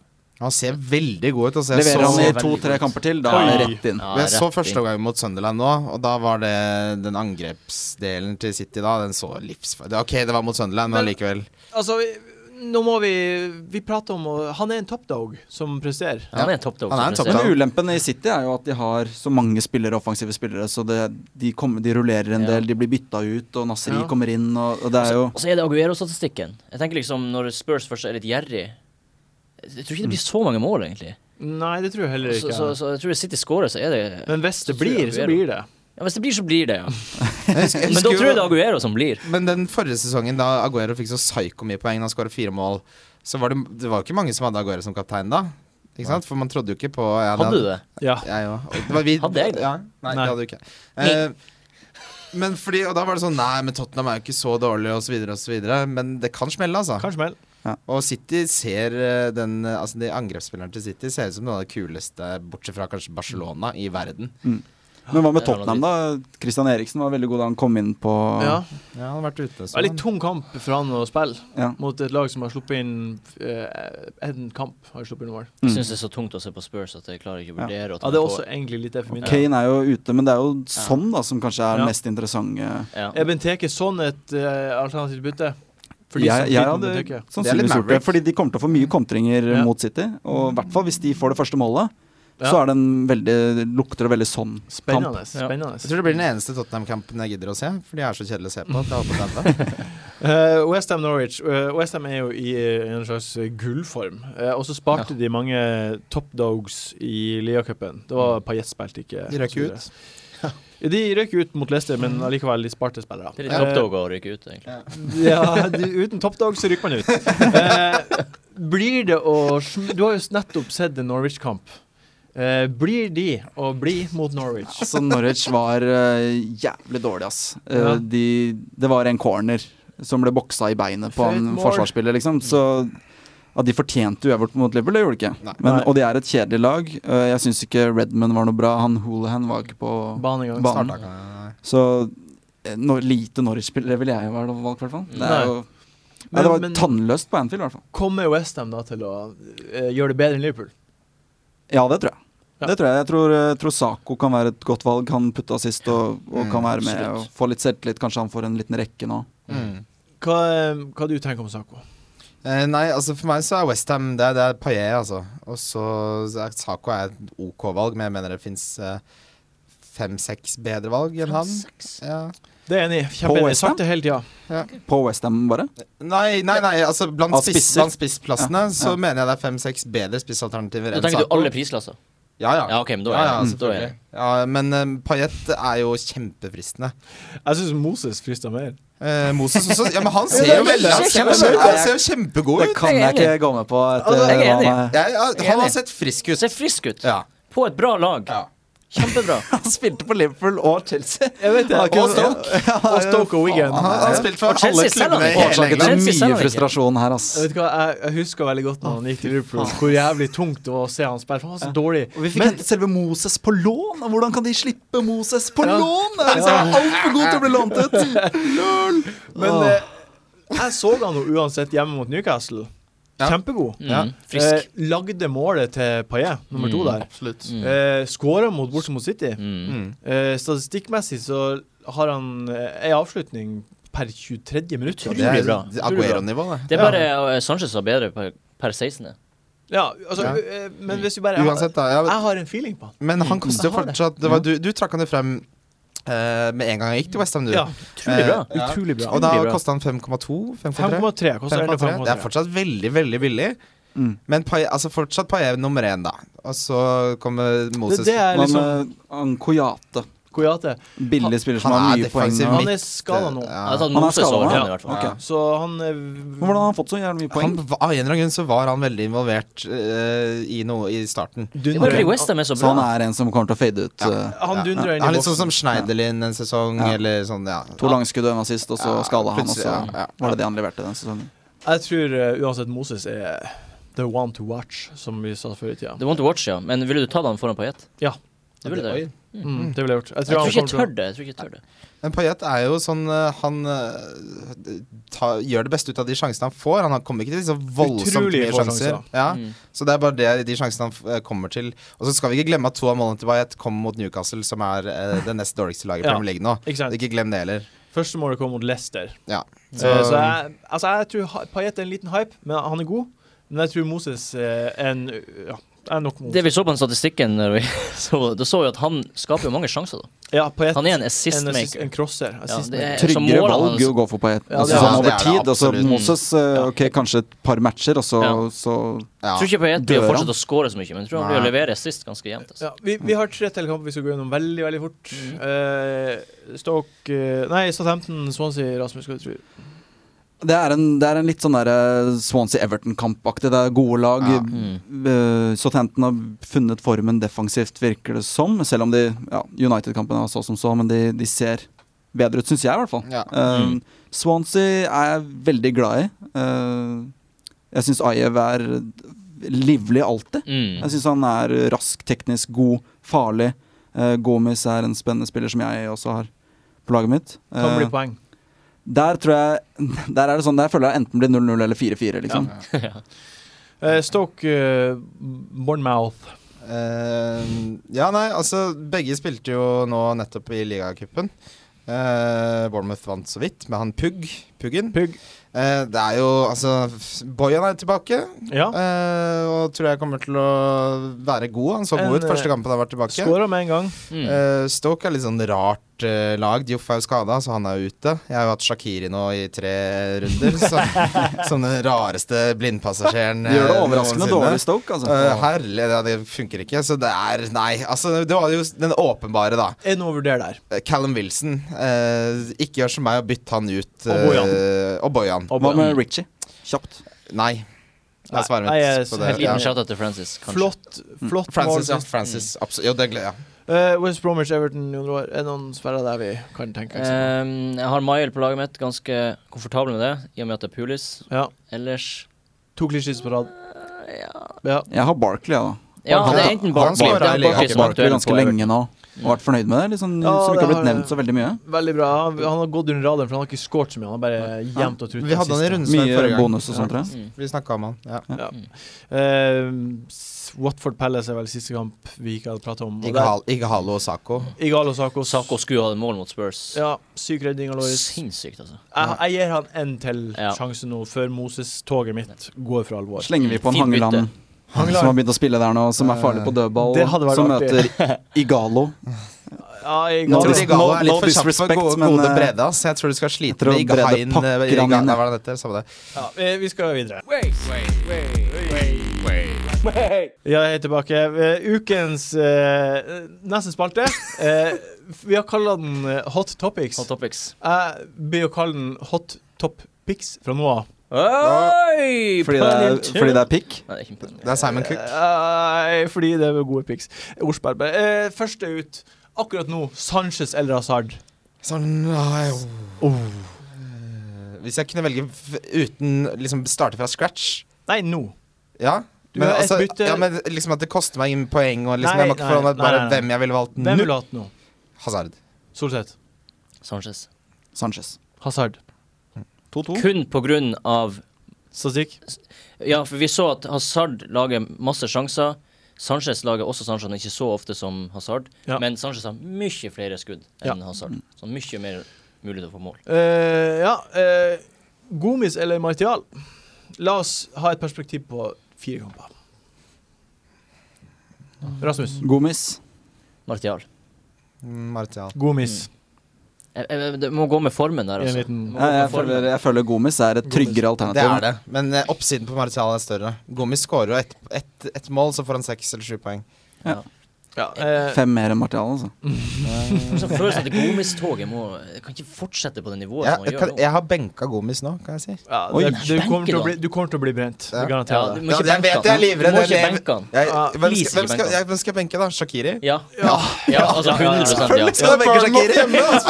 Han ser veldig god ut. Altså, Jeg Leverer så han i veldig god to-tre ut. kamper til, da er det Oi. rett inn. Ja, Men jeg så rett inn. første omgang mot Sunderland nå, og da var det den angrepsdelen til City da. Den så livsfarlig Ok, det var mot Sunderland, men Men- allikevel. Altså, vi- nå må vi Vi prater om å Han er en toppdog som presterer. Ja, Han er en topp dog. Han er en som topp presterer. Men ulempen i City er jo at de har så mange spillere, offensive spillere, så det, de, kommer, de rullerer en Ja. del, de blir bytta ut, og Nasri Ja. kommer inn, og, og det er jo Og så er det Aguero-statistikken. Jeg tenker liksom Når Spurs først er litt gjerrig Jeg tror ikke det blir så mange mål, egentlig. Nei, det tror jeg heller Så, ikke. så, så jeg tror hvis City scorer, så er det ja, Men hvis det Så tror jeg blir, så Aguero. blir det. Hvis det blir, så blir det, ja. Jeg husker- jeg Men da husker tror jeg det jo- er Aguero som blir. Men den forrige sesongen, da Aguero fikk så psyko mye poeng, han skåra fire mål, så var det, det var jo ikke mange som hadde Aguero som kaptein da. Ikke sant? For man trodde jo ikke på ja, Hadde du det? Mm. Ja. Jeg òg. Og det var vi- Hadde jeg det? Ja, Nei. nei, det hadde du ikke. Eh, men fordi, og da var det sånn Nei, men Tottenham er jo ikke så dårlig, og så videre, og så videre. Men det kan smelle, altså. Kanskje mer. Og City ser eh, den eh, Altså, de angrepsspilleren til City ser ut som noen av de kuleste, bortsett fra kanskje Barcelona, i verden. Men hva med Det er Tottenham, da? Christian Eriksen var veldig god da han kom inn på Ja. Ja, han har vært ute Det er litt tung kamp for han å spille Ja. mot et lag som har sluppet inn eh, en kamp. har sluppet inn mål. Jeg Mm. syns det er så tungt å se på Spurs at jeg klarer ikke å Ja. vurdere. og ta Ja, det er meg på- også egentlig litt det for min del. Kane er jo ute, men det er jo sånn da som kanskje er Ja. mest interessant. eh. Ja. Eben Teke sånn et eh, alternativt bytte? For de som Jeg, jeg sliter med hadde Benteke. sannsynligvis gjort det, Mavericks. fordi de kommer til å få mye kontringer eh, Ja. mot City. Og i hvert fall hvis de får det første målet, Ja. så er det en veldig, lukter det veldig sånn kamp. Spennende. Ja. spennende. Jeg tror det blir den eneste Tottenham-kampen jeg gidder å se, for de er så kjedelige å se på. til alle på den da. Eh, West Ham Norwich. Eh, West Ham er jo i eh, en slags eh, gullform. Eh, og så sparte de mange eh, top dogs i Lia-cupen. Det var Payet spilte ikke. De røk og så videre. Ja, De røk ut mot Leicester, men allikevel de sparte spillere. Det er litt topp dog å ryke ut, egentlig. Ja, du, uten toppdag så rykker man ut. Eh, blir det å sm- Du har jo nettopp sett en Norwich-kamp. Eh, blir de å bli mot Norwich? Altså, Norwich var eh, jævlig dårlig, ass. Eh, Ja. de, det var en corner som ble boksa i beinet på For et en mål. forsvarsspiller, liksom. Så ja, de fortjente uavgjort mot Liverpool, det gjorde de ikke. Nei. Men, Nei. og de er et kjedelig lag. Eh, jeg syns ikke Redman var noe bra. Han Hoolahan var ikke på Banen i gang. Banen. Starta ikke- Så eh, nor- lite Norwich-spillere ville jeg ha valgt, i hvert fall. Det, Nei. er jo, Nei, Men- det var men- tannløst på Anfield, i hvert fall. Kommer Westham da til å eh, gjøre det bedre enn Liverpool? Ja, det tror jeg. Ja. Det tror jeg. Jeg tror, jeg tror Sako kan være et godt valg. Han putta sist og, og Mm, kan være med absolutt. og få litt selvtillit. Kanskje han får en liten rekke nå. Mm. Hva, eh, hva du tenker om Sako? Eh, nei, altså for meg så er Westham det, er- det er Paillet, altså. Og så så er Sako er et OK valg, men jeg mener det fins fem-seks bedre valg enn han. Ja. Det er jeg enig i. Kjempeenig. Jeg har West Ham? Sagt det hele tida. På Westham, bare. Nei, nei, nei, altså blant, Av spiss, spisser? blant spissplassene så ja. mener jeg det er fem-seks bedre spissalternativer Da enn tenker du alle Sako. prisklasser? Ja, ja. Ja, OK, men da ja, ja, er det da er selvfølgelig. det. Ja, men uh, Paillet er jo kjempefristende. Jeg syns Moses frister mer. Eh, Moses også. Ja, men han det ser er jo veldig Han kjekt, ser jo kjekt. kjempe- han ser jo kjempegod Det ut. kan jeg ikke gå med på. Etter, Altså, jeg er hva enig. han Ja, er- ja, Jeg er han har enig. sett Du frisk ut. ser frisk ut. Ja. På et bra lag. ja. Kjempebra. han spilte på Liverpool og Chelsea. Jeg vet det. Han kunne- Og Stoke. Og Stoke og Wigan. Han han har spilt for Og Chelsea alle selger klubbene i han ikke. hele Årsaken England. til Chelsea selger mye ikke. frustrasjon her, Jeg ass. vet hva, jeg, jeg husker veldig godt når han gikk til Liverpool, hvor jævlig tungt det var å se han spille. For han var så dårlig. Og vi fikk Men hentet selve Moses på lån! og Hvordan kan de slippe Moses på Ja. lån?! Det er liksom altfor god til å bli lånt ut! Men Åh. eh, jeg så han jo uansett hjemme mot Newcastle. Ja. Kjempegod. Mm, Ja. Eh, Frisk. lagde målet til Paillet, nummer to Mm. der. Absolutt. Mm. Eh, Skåra mot bortsett mot City. Mm. Eh, statistikkmessig så har han eh, ei avslutning per 23. minutt. Det Utrolig er bra. Aguero-nivå, det. Det er bare eh, Sanchez var bedre per, per 16. Ja, altså, Ja. eh, men hvis vi bare Uansett, da. Ja, Jeg har en feeling på han. men han koster jo Jeg har det. fortsatt det var, du, du trakk han jo frem eh, med en gang han gikk til Westham, du. Ja, Utrolig bra. Eh, ja. Utrolig bra. Og da Utrolig bra. kosta han 5,2? 5,3? 5,3 koster 5,3. Det er 11,3. fortsatt veldig, veldig billig. Mm. Men Paillet- altså fortsatt Paillet nummer én, da. Og så kommer Det, Moses det er Hva liksom med Ankoyate? Koyate. Billig spiller som han har er mye poeng. defensiv nå. Han er skada nå. Jeg har tatt Han er Altså, Moses skadet, over ja. han, i hvert fall. Ok. Så han eh, Men Hvordan har han fått så jævlig mye poeng? Han, var- av en eller annen grunn så var han veldig involvert eh, i noe i starten. Det er bare fordi dundrer- Westham er så Så bra. han er en som kommer til å fade ut eh, Han dundrer inn i Han er litt boksen. sånn som Schneiderlin en sesong, Ja. eller sånn, ja. to langskudd og en assist, og Ja, så skada han, og plutselig, så ja, ja. var det det han leverte den sesongen. Jeg tror eh, uansett Moses er the one to watch, som vi sa før i tida. The one to watch, ja. Men ville du tatt han foran Payet? Ja. Det ville du. Oi. Mm, det ville jeg gjort. Jeg tror Jeg tror han ikke jeg kommer tør det. Jeg tror ikke jeg tør det. Men Payet er jo sånn eh, Han eh, ta, gjør det beste ut av de sjansene han får. Han har- kommer ikke til så voldsomt Utrolig mye få sjanser. sjanser, Ja. Mm. Så det er bare det, de sjansene han f- eh, kommer til. Og så skal vi ikke glemme at to av målene til Payet kom mot Newcastle, som er eh, det nest dårligste laget i Ja. Premier League nå. til Ikke sant? Ikke glem det heller. Første målet kom mot Leicester. Ja. Eh, Så, Så jeg, altså jeg tror Payet er en liten hype, men han er god. Men jeg tror Moses eh, er en Ja, er nok mot Det vi så på den statistikken, når vi så, da så vi at han skaper jo mange sjanser. da Ja, Payet Han er en en, assist, assist-maker. en crosser. Assist det er- Så Tryggere målet valg hans- å gå for på ett. Ja, altså, det er- sånn ja, over det er det tid. Altså, absolutt. Moses eh, Ja. ok, kanskje et par matcher, og så, Ja. så Jeg ja. tror ikke Payet blir Dør å han? fortsette å score så mye, men jeg tror han blir å Nei. levere sist ganske jevnt. Altså. ja, vi, vi har tre til kamper vi skal gå gjennom veldig veldig fort. Eh, Stoke eh, Nei, Southampton, Swansea, Rasmus. Hva tror du? det er, en, det er en litt sånn der eh, Swansea-Everton-kampaktig. Det er gode lag. Ja. Mm. Eh, Southampton har funnet formen defensivt, virker det som. Selv om de ja, United-kampen var så som så, men de, de ser bedre ut, syns jeg i hvert fall. Ja. Eh, Mm. Swansea er jeg veldig glad i. Eh, jeg syns Ayev er livlig alltid. Mm. Jeg syns han er rask, teknisk god, farlig. Eh, Gomis er en spennende spiller som jeg også har på laget mitt. Kan Eh, bli poeng. der tror jeg Der er det sånn Der føler jeg enten blir 0-0 eller 4-4, liksom. Eh, Stoke, eh, Bournemouth. Eh, ja, nei, altså Begge spilte jo nå nettopp i ligacupen. Eh, Bournemouth vant så vidt med han Pugg. Puggen. Pugg. Eh, det er jo Altså, Boyan er tilbake. Ja. eh, og tror jeg kommer til å være god. Han så En, god ut første eh, kampen han har vært tilbake. Skåra med en gang. Mm. Eh, Stoke er litt sånn rart eh, lag. Dioff er jo skada, så han er jo ute. Jeg har jo hatt Shakiri nå i tre runder, så, som den rareste blindpassasjeren. De gjør det eh, overraskende noensinne. dårlig, Stoke. Altså. Eh, herlig, ja, det funker ikke. Så det er Nei. Altså, det var jo den åpenbare, da. Er det noe å vurdere der? Eh, Callum Wilson. eh, ikke gjør som meg og bytt han ut. Og Bojan. eh, og Bojan. Hva med Richie? Kjapt. Nei. Det Nei, er svaret nei, jeg er mitt. på det. helt Ja. Liten shout-out til Francis, kanskje. Flott, flott mål. Mm. Francis, ja. Mm. Francis. Absolutt. Jo, det gleder jeg. Eh, West Bromwich, Everton, Jon Roar. Er det noen sperrer der vi kan tenke oss? Um, jeg har Mael på laget mitt, ganske komfortabel med det, i og med at det er Pulis. ja. Ellers To klisjeer på rad. ja. Ja. Jeg har Barkley, ja. da. ja, det er enten Han Barkley skårer det er i Liverpool. Barkley Hatt som er Barkley aktuell ganske på Everton. lenge nå. Og vært fornøyd med det, liksom, Ja, det som ikke har blitt har jeg. nevnt så veldig mye. Veldig bra. Han, han har gått under radaren, for han har ikke skåret så mye. Han har bare jevnt og trutt. Vi hadde han i runden Mye bonus og sånt, tror jeg. Mm. Vi snakka om han. Ja. Eh, Watford Palace er vel siste kamp vi ikke hadde pratet om. og der- Ighal- Ighalo og Sako. Igalo Sako. Sako skulle ha et mål mot Spurs. Ja, syk redning av Loris. Jeg, Sinnssykt, altså. jeg gir han en til Ja. sjanse nå, før Moses-toget mitt går for alvor. Slenger vi på en Fint bytte. Hangeland som har begynt å spille der nå, som er farlig på dødball, Det hadde vært som artig. møter Igalo. Ja, jeg, No tror Jeg tror dis- det- Ighalo no- er no litt for kjapp for disrespect, gode, men, gode eh, Brede. ass. Jeg tror du skal jeg slite tror med Brede Ighain pakker eh, Iga- han inn, Nei, hva ja. var det det heter? Samme det. ja, vi- vi skal videre. Ja, jeg er tilbake. Eh, Ukens eh, neste spalte. Eh, vi har kalla den eh, Hot Topics. Hot topics. Jeg blir å kalle den Hot Top Pics fra nå av. Oi! Fordi det er, fordi det er pikk. Nei, det er ikke en Det er Simon Cook. Eh, fordi det er gode pics. Ordsberg. Eh, første ut akkurat nå, Sanchez eller Hazard. Sånn, nei, åh. Oh. Eh, Hvis jeg kunne velge f- uten liksom starte fra scratch Nei, nå. Ja. Du Men, har et altså, bytte. ja, men liksom at det koster meg ingen poeng, og Nei, liksom jeg må ikke nei, forholde meg til nei, bare nei, nei. hvem jeg ville valgt Hvem nå. vil du ha hatt nå? Hazard. Solseth. Sanchez. Sanchez. Hazard. 2-2. Kun på grunn av Statistikk. Ja, for vi så at Hazard lager masse sjanser. Sanchez lager også sjanser, men ikke så ofte som Hazard. Ja. Men Sanchez har mye flere skudd Ja. enn Hazard. Så mye mer mulighet til å få mål. Eh, ja. eh, Gomis eller Martial? La oss ha et perspektiv på fire kamper. Rasmus. Gomis. Martial. Martial. Gomis. Jeg, jeg, det må gå med formen der, En altså. liten- Det må gå Jeg, med jeg, formen. føler, jeg føler Gomis er et tryggere Det alternativ. er det, men eh, oppsiden på Martial er større. Gomis skårer jo ett et, mål, så får han seks eller sju poeng. Eh, Ja, eh, Fem mer enn Martial, altså. Sånn følelsen at Gomis-toget må Kan ikke fortsette på det nivået Jeg, som man jeg, gjør kan, nå. jeg har benka Gomis nå, kan jeg si. ja, Oi, det, du, benken kommer til å da. bli, du kommer til å bli brent. Ja. Jeg Ja, garanterer du det. må ikke Ja, jeg benke vet jeg er han. Du livredd, må jeg ikke er benke han. Jeg, Ah, hvem, please, skal, hvem, ikke skal, benke jeg, hvem skal jeg benke, da? Shakiri? Ja. ja. altså 100 ja. Selvfølgelig skal jeg benke Shakiri!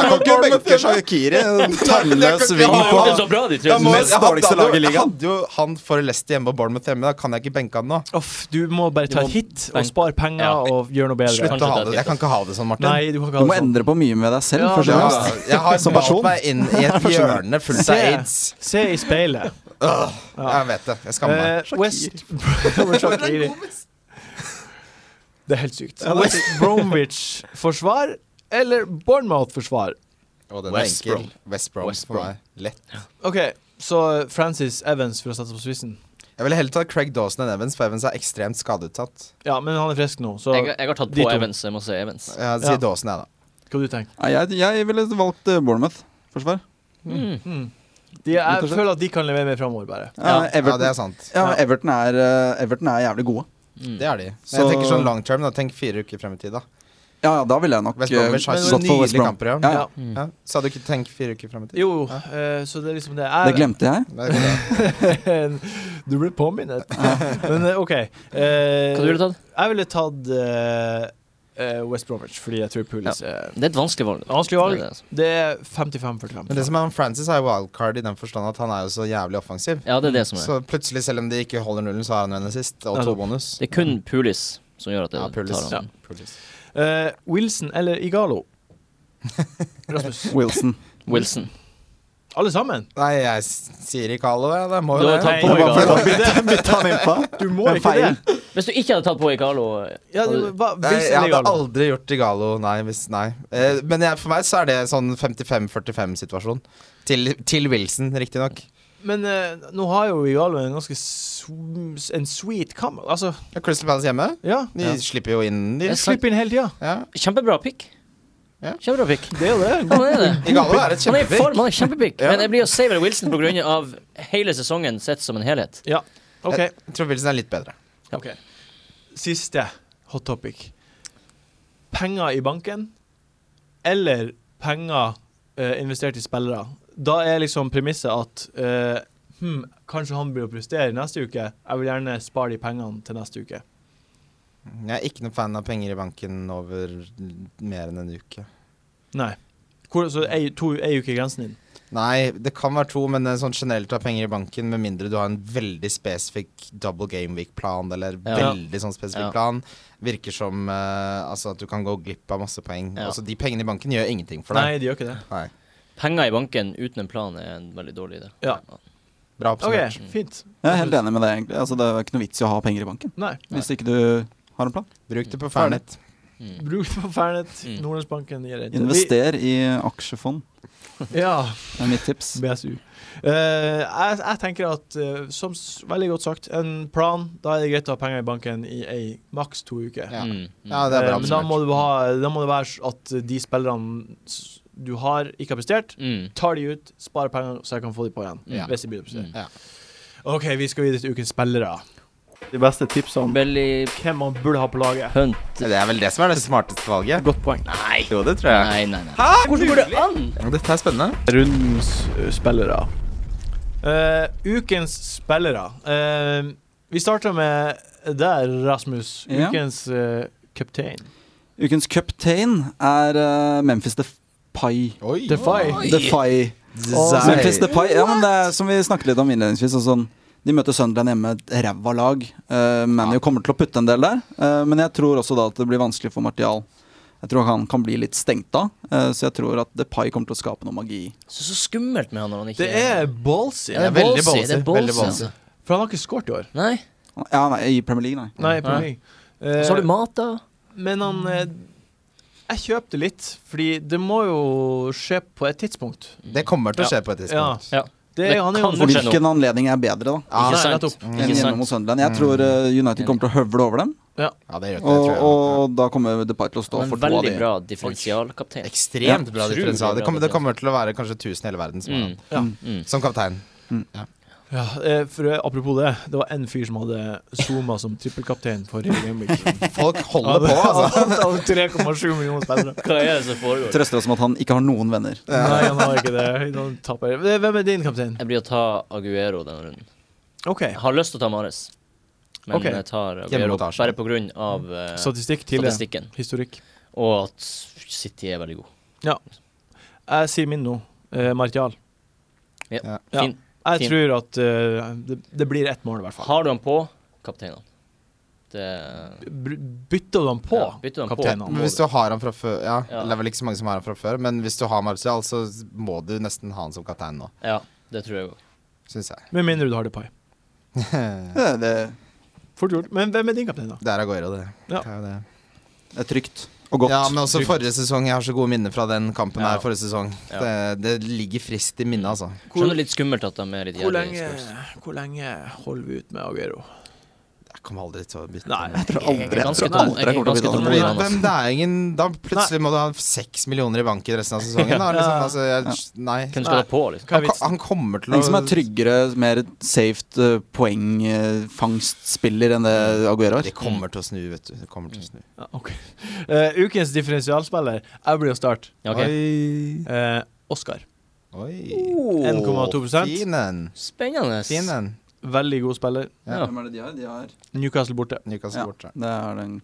Han kan ikke benke Shakiri. En tannløs ving på De gjorde det så bra, de tre. Da må- Mest jeg hadde- dårligste lag i ligaen. Jeg hadde jo han for Leicester hjemme og Bournemouth hjemme. Da kan jeg ikke benke han nå. Uff, du må bare Du ta må et hit og benke- spare penger Ja. og gjøre noe bedre. Kanskje Slutt å ha det er det. Jeg kan ikke ha det sånn, Martin. Nei, du kan Du ikke må ha det sånn. endre på mye med deg selv, Ja, først og det- fremst. Ja, jeg har Som malt person. meg inn i et hjørne fullt av aids. Se i speilet. Åh, Ja. Jeg vet det. Jeg skammer meg. Eh, West Shakiri. Det er helt sykt. West Bromwich-forsvar eller Bournemouth-forsvar? Og den er Eh, West enkel. Brom. West Brom West for Brom. meg. Lett. OK, så Francis Evans for å satse på spissen. Jeg ville heller tatt Craig Dawson enn Evans, for Evans er ekstremt skadeutsatt. Ja, men han er frisk nå, så Jeg, jeg har tatt De på to. Evans, jeg må si Evans. Jeg sier Ja. Dawson, jeg, da. hva du tenker Nei, jeg, jeg ville valgt eh, Bournemouth-forsvar. Mm. mm. de, Jeg føler at de kan levere mer framover, bare. Ja, Ja. Ja, Everton, det ja, er sant. Everton, er, eh, Everton er jævlig gode. Mm. Det er de. Men Så- jeg tenker sånn long term. Da. Tenk fire uker frem i tid, da. Ja, ja, da ville jeg nok West eh, Bromwich har gått så for West nydelige Brom. kamper. Ja. Ja, ja. Mm. Ja. Sa du ikke 'tenk fire uker frem i tid'? Jo, eh, så det er liksom det. Det Jeg, glemte jeg. Det er bra. du ble påminnet. Men eh, OK. eh, Hva du ville tatt? jeg ville tatt eh, eh, West Bromwich, fordi jeg tror Pulis er Det er et vanskelig valg. Vanskelig Det er valg. det, altså. Det er 55-45. Men det som er om Francis, er wildcard i den forstand at han er jo så jævlig offensiv. Ja, det er det som er. Så plutselig, selv om de ikke holder nullen, så har han jo en assist og to Nettopp. bonus. Det er kun Pulis som gjør at det Ja, Pulis. tar han. Pulis. Eh, Wilson eller Igalo? Rasmus. Wilson. Wilson. Alle sammen? Nei, jeg s- sier ikke hallo, jeg. Det må Du jo har det. tatt Nei, på det var Igalo. fordi det- Bytte han innpå. Du må Men ikke feil. det. Hvis du ikke hadde tatt på Igalo Ja, hadde det du- var Nei, Wilson jeg eller hadde Igalo. aldri gjort Igalo, nei. Hvis, nei. Eh, men jeg, for meg så er det sånn 55-45-situasjon. Til, til Wilson, riktignok. Men eh, nå har jo Igalo en ganske sw- en sweet kam... Altså, Ja, Crystal Palace hjemme. ja. De Ja. slipper jo inn, de. Jeg slipper inn hele tida. Ja. Kjempebra pick. Ja. Kjempebra pick. Det er jo det. Han er det. Igalo er et Han er i kjempepick. form, han er kjempepick. Ja. Men jeg blir å savor Wilson pga. hele sesongen sett som en helhet. OK. Jeg tror Wilson er litt bedre. ok. Siste hot topic. Penger i banken eller penger eh, investert i spillere. Da er liksom premisset at eh, hm, kanskje han blir å prestere neste uke. Jeg vil gjerne spare de pengene til neste uke. Jeg er ikke noen fan av penger i banken over mer enn en uke. Nei. Hvor, så ei, to, ei uke er grensen din. Nei, det kan være to, men eh, sånn generelt ha penger i banken, med mindre du har en veldig spesifikk double game week-plan, eller Ja. veldig sånn spesifikk Ja. plan, virker som eh, altså at du kan gå glipp av masse poeng. Ja. Altså, de pengene i banken gjør ingenting for deg. Nei, de gjør ikke det. Nei. Penger i banken uten en plan er en veldig dårlig idé. Ja. Bra OK, oppsummert. fint. Jeg er helt enig med deg, egentlig. Altså, det er ikke noe vits i å ha penger i banken Nei. hvis ikke du har en plan. Bruk det på Fernet. Mm. Bruk det på Fernet. Mm. Nordlandsbanken gir rente. Invester i aksjefond, Vi- Ja. er mitt tips. BSU. Eh, jeg, jeg tenker at, eh, som s veldig godt sagt, en plan Da er det greit å ha penger i banken i ei maks to uker. Ja. Mm. Mm. Ja, det er Eh, bra men da oppsummert. må, du ha, da må det være s- at de spillerne s- du har, ikke har prestert, Mm. tar de ut, sparer penger, så jeg kan få de på igjen. Ja. Hvis de begynner å prestere. Ja. Mm. OK, vi skal videre til ukens spillere. De beste tipsene om Belly hvem man burde ha på laget. Hunt Det er vel det som er det smarteste valget. Godt poeng. Nei. Jo, det tror jeg. Nei, nei, nei. Ah, Hæ? Hvordan går det an? Dette er spennende. Rundens eh, spillere. Eh, ukens spillere. Eh, vi starter med der, Rasmus. Ja. Ukens eh, kaptein. Ukens cuptain er eh, Memphis Depay. Oi. Defy. Nei. Defy. Memphis Depay. Ja, men det er som vi snakket litt om innledningsvis. og Sånn, de møter Sunderland hjemme, et ræva lag. Uh, ManU kommer til å putte en del der, eh, men jeg tror også da at det blir vanskelig for Martial. Jeg tror han kan bli litt stengt av, eh, så jeg tror at Depay kommer til å skape noe magi. Så, så skummelt med han når han ikke Det er ballsy. Ja, det er veldig ballsy, ballsy, Det er veldig ballsy. ballsy. altså. For han har ikke skåret i år. Nei. Ja, nei, I Premier League, nei. Nei, på Nei. ny. Og Eh, så har du Mata. men han eh, Jeg kjøpte litt, fordi det må jo skje på et tidspunkt. Det kommer til å skje på et Ja. tidspunkt. Ja. Det, Det han er jo kan Og Fortsett nå. hvilken anledning er bedre, da? Ja, Ikke nei, sant? Mm. nettopp. Enn Ikke hjemme mot sant? Sunderland. Jeg tror eh, United kommer til å høvle over dem, Ja, det gjør det, og, tror jeg. og da kommer Depay til å stå Han er for en to av veldig de. bra differensialkaptein. Ekstremt Ja, bra utrolig differensial. bra Mm. Det kommer, det differensial. kommer til å være kanskje 1000 i hele verden som har Mm. han. Ja. Mm. Som kaptein. Ja, eh, for eh, Apropos det, det var en fyr som hadde zooma som trippelkaptein forrige gameweek. Folk holder på, altså. Han hadde 3,7 millioner spillere. Hva er det som foregår? Trøster oss med at han ikke har noen venner. Nei, han har ikke det. Han taper. Hvem er din kaptein? Jeg blir å ta Aguero denne runden. OK. Jeg har lyst til å ta Mares, men Ok. jeg tar Hjemme Aguero mot Arsenal. bare pga. Uh, Statistikk tidligere. statistikken. Historikk. Og at City er veldig god. Jeg sier min nå. Eh, Martial. Ja. Fin. Jeg Fin. tror at eh, det, det blir ett mål, i hvert fall. Har du han på, kapteinene. Det Br- Bytter du han på, Ja, bytter du han på. kapteinen? Men hvis du har han fra før ja, Ja. Det er vel ikke så mange som har han fra før, men hvis du har Martial, så må du nesten ha han som kaptein nå, Ja, det tror jeg òg. syns jeg. Med mindre du har Depay. det Det, det Fort gjort. Men hvem er din kaptein, da? er Aguero, det. Ja. Det er jo det. er trygt og godt. Ja, men også forrige sesong. Jeg har så gode minner fra den kampen Ja. her forrige sesong. Ja. Det, det ligger friskt i minnet, altså. Skjønner litt skummelt at de er litt Hvor jævlig. lenge, hvor lenge holder vi ut med Aguero? Jeg kommer aldri til å bytte. Nei, Jeg Jeg tror er aldri jeg ganske tror aldri jeg kommer til å tom- bli jeg er ganske tom- dårlig. han, altså. Hvem det er ingen Da plutselig må du ha seks millioner i banken resten av sesongen. Da, liksom. altså, jeg, nei. Hvem Nei. skal ta på, liksom? Hva er Han, vitsen? han kommer til å Ingen som er tryggere, mer saved eh, poengfangstspiller enn det Aguero er. Det kommer til å snu, vet du. Det kommer til å snu. Ja, ok. Eh, ukens differensialspiller. Jeg blir å starte. Ja, ok. Eh, Oscar. Oi. 1,2%. Oh, Fin en. Spennende. Fin en. Veldig god spiller. Ja. Hvem er det de har? De har Newcastle borte. Newcastle Ja. borte. Det er den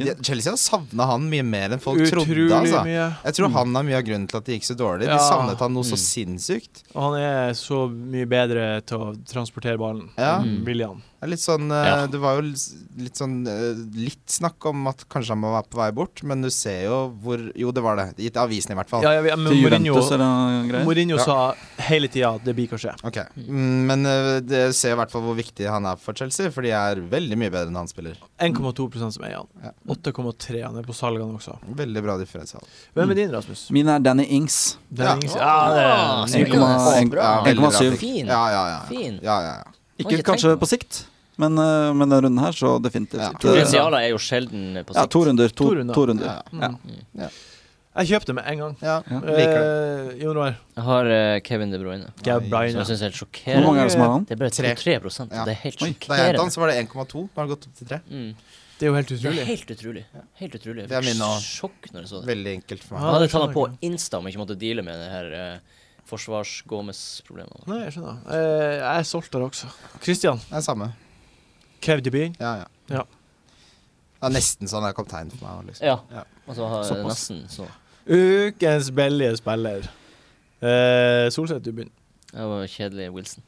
Ja, Chelsea har savna han mye mer enn folk Utrolig trodde. Altså. mye. Jeg tror han har mye av grunnen til at det gikk så dårlig. De Ja. savnet han noe så Mm. sinnssykt. Og han er så mye bedre til å transportere ballen. Ja. Mm. enn William. Det er litt sånn eh, Ja. Det var jo litt sånn eh, Litt snakk om at kanskje han må være på vei bort, men du ser jo hvor Jo, det var det. I avisen i hvert fall. Ja, ja, men Til Mourinho, Juventus eller noe greier. Mourinho Ja. sa hele tida at det blir kanskje. Ok, mm, Men eh, det ser i hvert fall hvor viktig han er for Chelsea, for de er veldig mye bedre enn han spiller. 1,2 som eier Ja. han. 8,3 han er på salgene også. Veldig bra differensial. Hvem er din, Rasmus? Min er Danny Ings. Den Ja. er ingen- Ah, Ja, det er- Mm. Syv komma- en- Ja, veldig bra 1,7. pick. Fin. Ja, ja, ja. Fin. ja, ja, ja. Oi, Ikke jeg kanskje tenkte på sikt, men eh, men denne runden her, så definitivt. Ja. Eh, Potensialet er jo sjelden eh, på Ja, sikt. to runder. To, To runder. to runder. Ja, Ja. Mm. Ja. Jeg kjøpte med en gang. ja. Ja. Liker det. Eh, Jon Roar. Jeg har eh, Kevin De Bruyne, Gab Nei, som Bryan. jeg syns er helt Hvor mange sjokkerende. er det som Eh, har han? Det er bare Tre. 3 og Ja. det er helt Oi. Da jeg hentet sjokkernå. han, så var det 1,2. Nå har det gått opp til 3. Mm. Det er jo helt Det er utrolig. helt utrolig. Helt utrolig. Det er Jeg min fikk også. sjokk når jeg så det. Veldig enkelt for Ja, Jeg Ah. det hadde meg. tatt skjønner han på jeg Insta om jeg ikke måtte deale med det her eh, forsvars-Gomes-problemet. Nei, jeg skjønner. Eh, jeg er solgt der også. Christian. Det er samme. Kev de Bruyne. Ja, ja. Ja. Det er nesten sånn jeg er kaptein for meg. Liksom. Ja. Ja. Altså, ha- Såpass. nesten så. Ukens billige spiller. Eh, Solseth, du begynner. Det var kjedelig Wilson.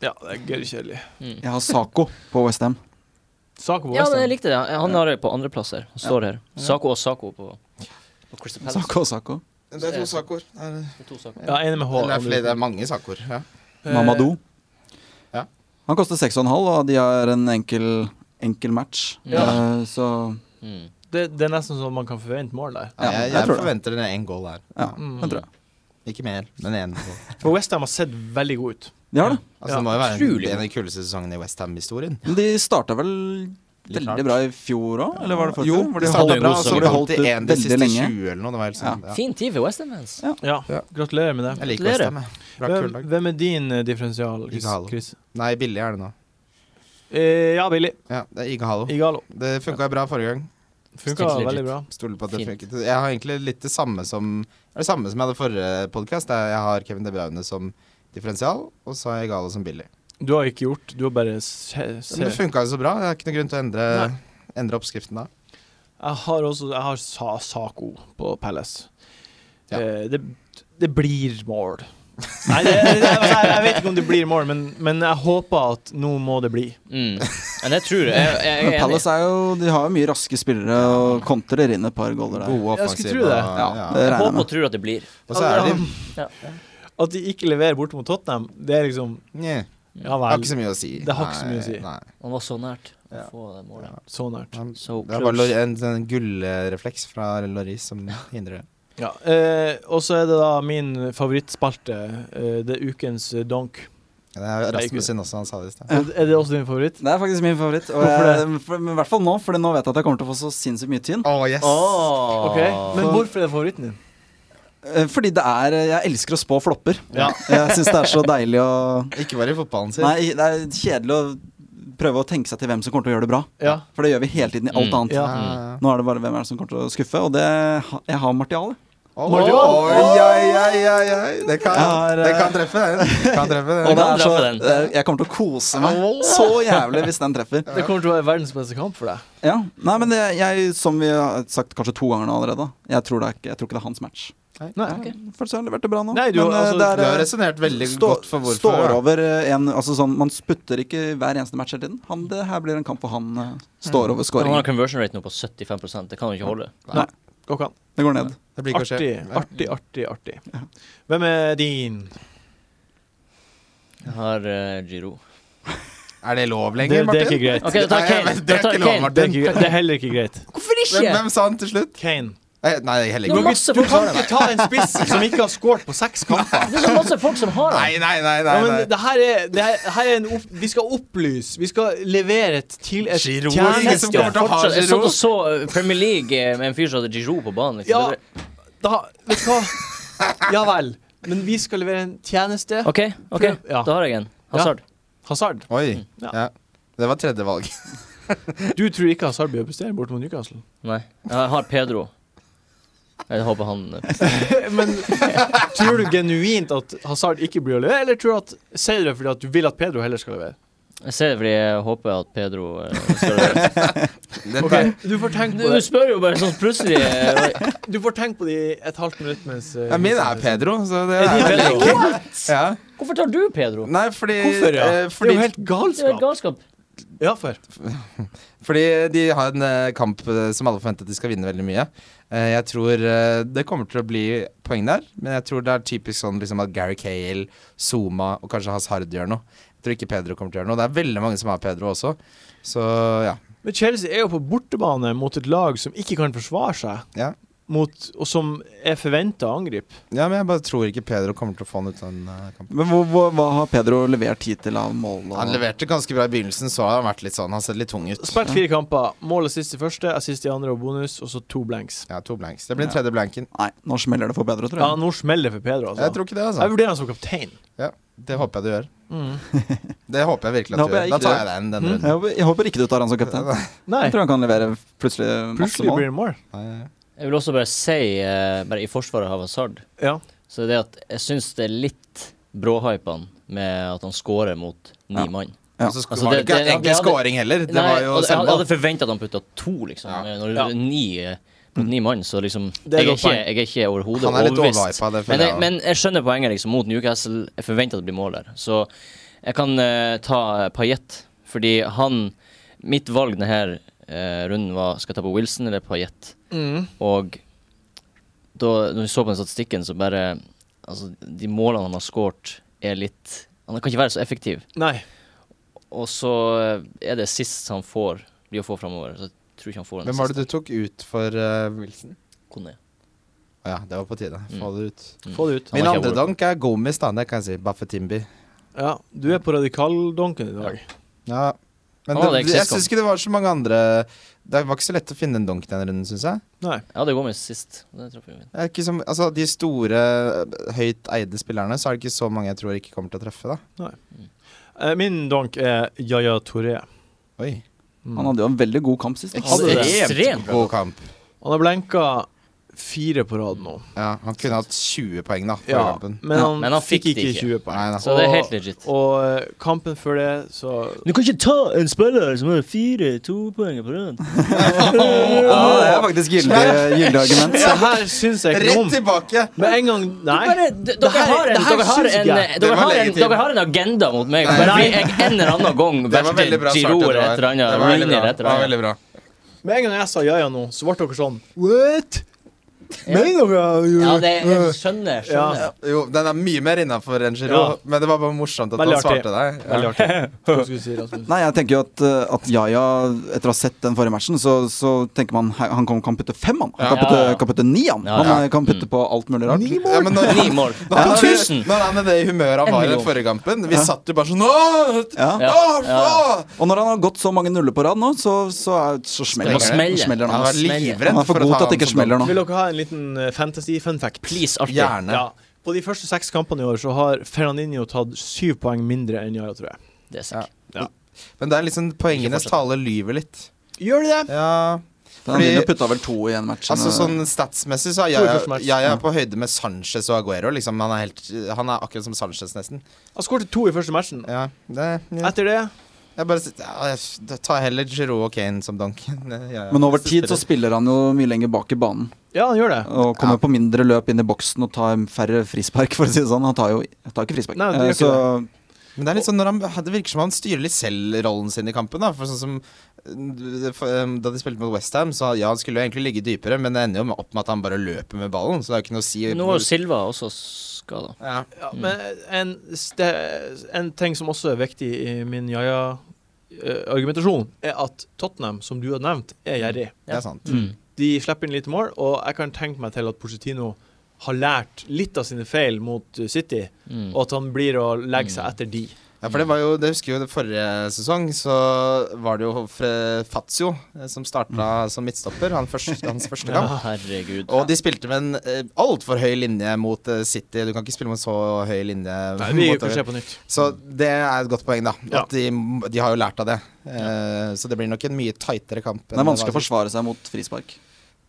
Ja, det er gøy kjedelig. Mm. Jeg har Saco på Westham. Sako på Ja, men jeg Western. likte det. Han har det på andreplass her. Han står her. Sako og Sako på, på Crystal Palace. Saco og Saco. Det er to sakord. Det Det er to Sako. Ja, enig med H. er, fordi det er mange sakord. Ja. Eh, Mamadou. Ja. Han koster 6,5, og de har en enkel, enkel match. Ja. Eh, så Mm. Det, det er nesten sånn man kan forvente mål der. Ja, jeg jeg, jeg tror det. forventer en én goal her. ja, Mm. det tror jeg. Ikke mer, men én. Altså, For Westham har sett veldig god ut. De har det. Ja, det må jo være utrolig. en, en av de kuleste sesongene i Westham-historien. Men de starta vel Litt veldig rart. bra i fjor òg, eller var det forrige? Jo, det Hvor de starta holdt- en bra, god og så sesong. var det holdt i Holdt en ut de siste veldig lenge. 20 eller noe. Det var helt sånn. Ja. Fin tid for Westham-fans. Ja, Ja. Gratulerer med det. Jeg liker Gratulerer. Westham, jeg. Bra Hvem, kuldag. hvem er din eh, differensial, Chris? Igalo. Chris? Nei, billig er det nå. Eh, ja, Billy. Ja, det er Igahalo. Igalo. Det funka bra forrige gang. Funka Still legit. veldig bra. Stoler på at det Fint. funket. Jeg har egentlig litt det samme som Det er det samme som jeg hadde forrige podkast. Jeg har Kevin De Bruyne som differensial, og så har jeg Igalo som billig. Du har ikke gjort Du har bare se, Men se. det funka jo så bra. Det er ikke noen grunn til å endre, endre oppskriften da. Jeg har også Jeg har sa, Sako på Palace. Ja. Eh, det, det blir mål. Nei, det, det, altså, jeg, jeg vet ikke om det blir mål, men, men jeg håper at nå må det bli. Mm. Men det tror jeg. Jeg, jeg, jeg er Men enig. Palace er jo, de har jo mye raske spillere og kontrer inn et par goller der. Gode Jeg skulle offensive. tro det. og- Ja, ja. det Jeg regner jeg håper og med. tror at det blir. Og så er de Ja. Altså, At de ikke leverer borte mot Tottenham, det er liksom Nja, det Ja har vel. ikke så mye å si. Det har ikke så Nei, mye å si. Nei. Han var så nært å Ja. få det målet. Så nært. Han- So Det er bare Lor- close. en, en gullrefleks fra Loris som hindrer det. Ja. Eh, og så er det da min favorittspalte, eh, det er ukens eh, donk. Det er ikke det. Rasmus sin også, han sa det i sted. Ja. Er, er det også din favoritt? Det er faktisk min favoritt. Og Hvorfor jeg, for, men I hvert fall nå, for nå vet jeg at jeg kommer til å få så sinnssykt mye tynn. Å, yes! Åh. Ok, Men hvorfor er det favoritten din? Eh, Fordi det er Jeg elsker å spå flopper. Ja. Jeg syns det er så deilig å Ikke bare i fotballen sin. Nei, det er kjedelig å prøve å tenke seg til hvem som kommer til å gjøre det bra. Ja. For det gjør vi hele tiden i alt Mm. annet. Nå er det bare hvem er det som kommer til å skuffe, og det ha- jeg har Martial. Oi, Martin- oi, oi, oi, oi, oi. Det kan, Jeg har, det eh, kan treffe, det. Kan treffe, Og det. det kan er så, treffe den. det- jeg kommer til å kose meg så jævlig hvis den treffer. Det kommer til å være verdens beste kamp for deg. Ja, nei, men det, jeg, Som vi har sagt kanskje to ganger nå allerede, jeg tror, det er ikke, jeg tror ikke det er hans match. Nei, For så har han levert det bra nå. Nei, du, men, eh, altså, Du det har er, eh, resonnert veldig stå- godt for hvorfor. står da. over eh, en altså sånn, Man sputter ikke hver eneste match hele tiden. Han, det her blir en kamp hvor han eh, Mm. står over Han har scoring. en conversion rate nå på 75 Det kan jo ikke holde. Går ikke an. Det går ned. Det blir ikke å skje. Artig, artig, artig. artig. Hvem er din? Jeg har eh, Giro. Er det lov Det, det lenger, er Martin? ikke greit. Ok, da tar jeg Nei, Kane. men det Da er tar ikke jeg lov, Kane. Det er, ikke greit. det er heller ikke greit. Hvorfor Hvem, ikke? hvem sa han til slutt? Kane. Eh, Nei, heller Det ikke. var masse Du folk som kan har ikke det. ta en spiss som ikke har scoret på seks kamper. Det er så masse folk som har Nei, det. nei, nei. nei, Ja, men nei. det her er, det her, her er en opp, Vi skal opplyse. Vi skal levere et, til et Giroud, ingen som tjeneste. kommer til å ha Fortsatt, jeg Giroud. satt og så eh, Premier League eh, med en fyr som hadde Giroud på banen. Liksom. Ja. Det er- Da, vet du hva? Ja vel. Men vi skal levere en tjeneste. OK, ok, Ja. da har jeg en. Hazard. Hazard. Oi. Ja. Ja. Det var tredje valg. Du tror ikke Hazard blir å prestere bort mot Newcastle? Nei. Jeg har Pedro. Jeg håper han eh, Men tror du genuint at Hazard ikke blir å levere, eller tror du at, sier du det fordi at du vil at Pedro heller skal levere? Jeg ser det fordi jeg håper at Pedro eh, skal det. Dette Ok, Du får tenke Du, på du det spør jo bare sånn plutselig. eh, Du får tenke på det i et halvt minutt mens eh, ja, min er Pedro, så det Er er, din Pedro? Ja. Hvorfor tar du Pedro? Nei, fordi Hvorfor, ja? eh, Det er fordi, jo helt Det er jo galskap. galskap. Ja, for. fordi de har en eh, kamp eh, som alle forventer at de skal vinne veldig mye. Eh, jeg tror eh, det kommer til å bli poeng der, men jeg tror det er typisk sånn liksom, at Gary Cale, Zuma og kanskje Hazard gjør noe. Jeg tror ikke Pedro kommer til å gjøre noe. Det er veldig mange som har Pedro også, så ja. Men Chelsea er jo på bortebane mot et lag som ikke kan forsvare seg, Ja. mot, og som er forventa å angripe. Ja, men jeg bare tror ikke Pedro kommer til å få han ut av den eh, kampen. Men hvor, hvor, hva har Pedro levert hittil av mål? Og... Han leverte ganske bra i begynnelsen, så har han vært litt sånn. Han ser litt tung ut. Spilt fire kamper. Mål assist i første, assist i andre og bonus, og så to blanks. Ja, to blanks. Det blir den tredje blanken. Nei, nå smeller det for Pedro, tror Ja, jeg. nå smeller det for Pedro, altså. Jeg tror ikke det, altså. Jeg vurderer han som kaptein. Ja, det håper jeg du gjør. Det håper jeg virkelig Det at du håper jeg gjør. Da ikke tar du jeg den denne Mm. runden. Jeg håper, jeg håper ikke du tar han som kaptein. Nei, Jeg tror han kan levere plutselig masse plutselig mål. blir det mål. Jeg vil også bare si, eh, bare i forsvaret av Hazard, Ja. så er det at jeg syns det er litt bråhype han med at han scorer mot ni Ja. mann. Ja. Og så sk- Altså, var det det- ikke det- egentlig jeg hadde- scoring heller. Det Nei, var jo og jeg hadde- jeg hadde selvmål. forventa at han putta to, liksom. Ja. Eh, Når det Ja. er ni eh, mot ni mann, så liksom Det er Jeg er godt ikke, poeng. jeg er ikke overhodet Han er litt overbevist. overhypa, det Men føler jeg, jeg. men jeg skjønner poenget, liksom. Mot Newcastle. Jeg forventer at det blir mål der. Så jeg kan eh, ta uh, Paillet, fordi han Mitt valg denne her, eh, runden var skal jeg ta på Wilson eller Paillet. Mm. Og da når vi så på den statistikken, så bare Altså, de målene han har skåret, er litt Han kan ikke være så effektiv. Nei. Og så eh, er det sist han får, blir å få framover. Så jeg tror ikke han får da. den Hvem var det du tok ut for eh, Wilson? Kone. Å Ja, det var på tide. Få det ut. Få det ut. Mm. Han Min har ikke andre ordet. donk er Gomis, da. Det kan jeg si. Baffetimbi. Ja, du er på radikaldonken i dag. Ja. Men Han hadde det, ikke jeg sist kamp. syns ikke det var så mange andre Det var ikke så lett å finne en donk den runden, syns jeg. Nei. Ja, det går med sist. Det traff jeg fint. Det er ikke som, altså, de store, eh, høyt eide spillerne, så er det ikke så mange jeg tror ikke kommer til å treffe, da. Eh, Min donk er Yaya Touré. Oi. Mm. Han hadde jo en veldig god kamp sist. da. Hadde det. Ekstremt god kamp. Han har blenka fire på rad nå. Ja, han kunne hatt 20 poeng, da, på Ja, kampen. men han, men han fikk fikk det ikke ikke. 20 poeng. Nei, da. Så det er helt legit. Og eh, kampen før det, så Du kan ikke ta en spiller som har fire topoenger på rad. Ja, det er faktisk gyldig, gyldig argument. Så her syns jeg ikke noe Rett om. tilbake! Med en gang Nei. Dere, Det her- har det en- her dere har syns en- eh, ikke jeg. dere var har en- legitim. dere har en agenda mot meg. Bare fordi jeg en eller annen gang Det var veldig bra verken Giroud svart, eller det et eller var. annet Det var veldig Rooney bra. eller et eller Det var annet. veldig bra. Med en gang jeg sa ja ja nå, så ble dere sånn What? Mener dere Ja, det jeg skjønner. Ja. skjønner. Jo, den er mye mer innafor enn Giroud, men det var bare morsomt at Veldig han artig. svarte deg. Veldig Ja. artig. Hva skulle du si, Rasmus? Nei, jeg tenker jo at, eh, at Jaja, etter å ha sett den forrige matchen, så, så tenker man he- han kan, kan putte fem, han. Han kan Ja. putte, kan putte ni, han. Ja, Han ja. eh, kan putte Mm. på alt mulig rart. Ja, men når, Ni mål. når, han, På tusen! når han er det i humøret han En var i den million. forrige kampen Vi satt jo bare sånn Åh! Ja. Ja, åh, ja. faen!» Og når han har gått så mange nuller på rad nå, så, så, er, så smeller Det må smelle. Smeller Han han, var ass. smeller. livredd Han er for å god ta til at han det ikke som smeller nå. Vil dere ha en en liten eh, fantasy-fun fact? Please, alltid. Gjerne. Ja. På de første seks kampene i år så har Fernandinho tatt syv poeng mindre enn Yara, tror jeg. Det er sikkert. Men det er liksom poengenes fortsett. tale lyver litt. Gjør de det? Ja, Fernandinho putta vel to i en match. eh, altså sånn Statsmessig så er jeg, Storforsvars. jeg er på høyde med Sanchez og Aguero. Liksom. Han, er helt, han er akkurat som Sanchez, nesten. Han skåret to i første matchen. Ja, det, ja. Etter det Jeg bare sit- ja, jeg f- da tar jeg heller Giroud og Kane som Duncan. Ja, ja. Men over tid så spiller han jo mye lenger bak i banen. Ja, han gjør det. Og kommer på mindre løp inn i boksen og tar færre frispark, for å si det sånn. Han tar jo han tar ikke frispark. Nei, det gjør Eh, ikke så Men det er litt sånn når han, det virker som han styrer litt selv rollen sin i kampen. Da, for sånn som eh, for, eh, da de spilte mot Westham, så ja, han skulle jo egentlig ligge dypere, men det ender jo med- opp med at han bare løper med ballen, så det er jo ikke noe å Nå si. er jo Silva også skada. ja. Ja, men en, ste- en ting som også er viktig i min Jaja-argumentasjon, er at Tottenham, som du har nevnt, er gjerrig. Det er sant. Mm. De slipper inn lite mål, og jeg kan tenke meg til at Pochettino har lært litt av sine feil mot uh, City, Mm. og at han blir å legge seg etter de. Ja, for det var jo, det husker jeg jo det forrige sesong, så var det jo Fre- Fazio eh, som Mm. starta som midtstopper, han første, hans første kamp. Herregud. Og de spilte med en eh, altfor høy linje mot eh, City. Du kan ikke spille med en så høy linje. Nei, vi mot- får se på nytt. så det er et godt poeng, da. Ja. At de, de har jo lært av det. Eh, Så det blir nok en mye tightere kamp. enn det er vanskelig å var- forsvare seg mot frispark.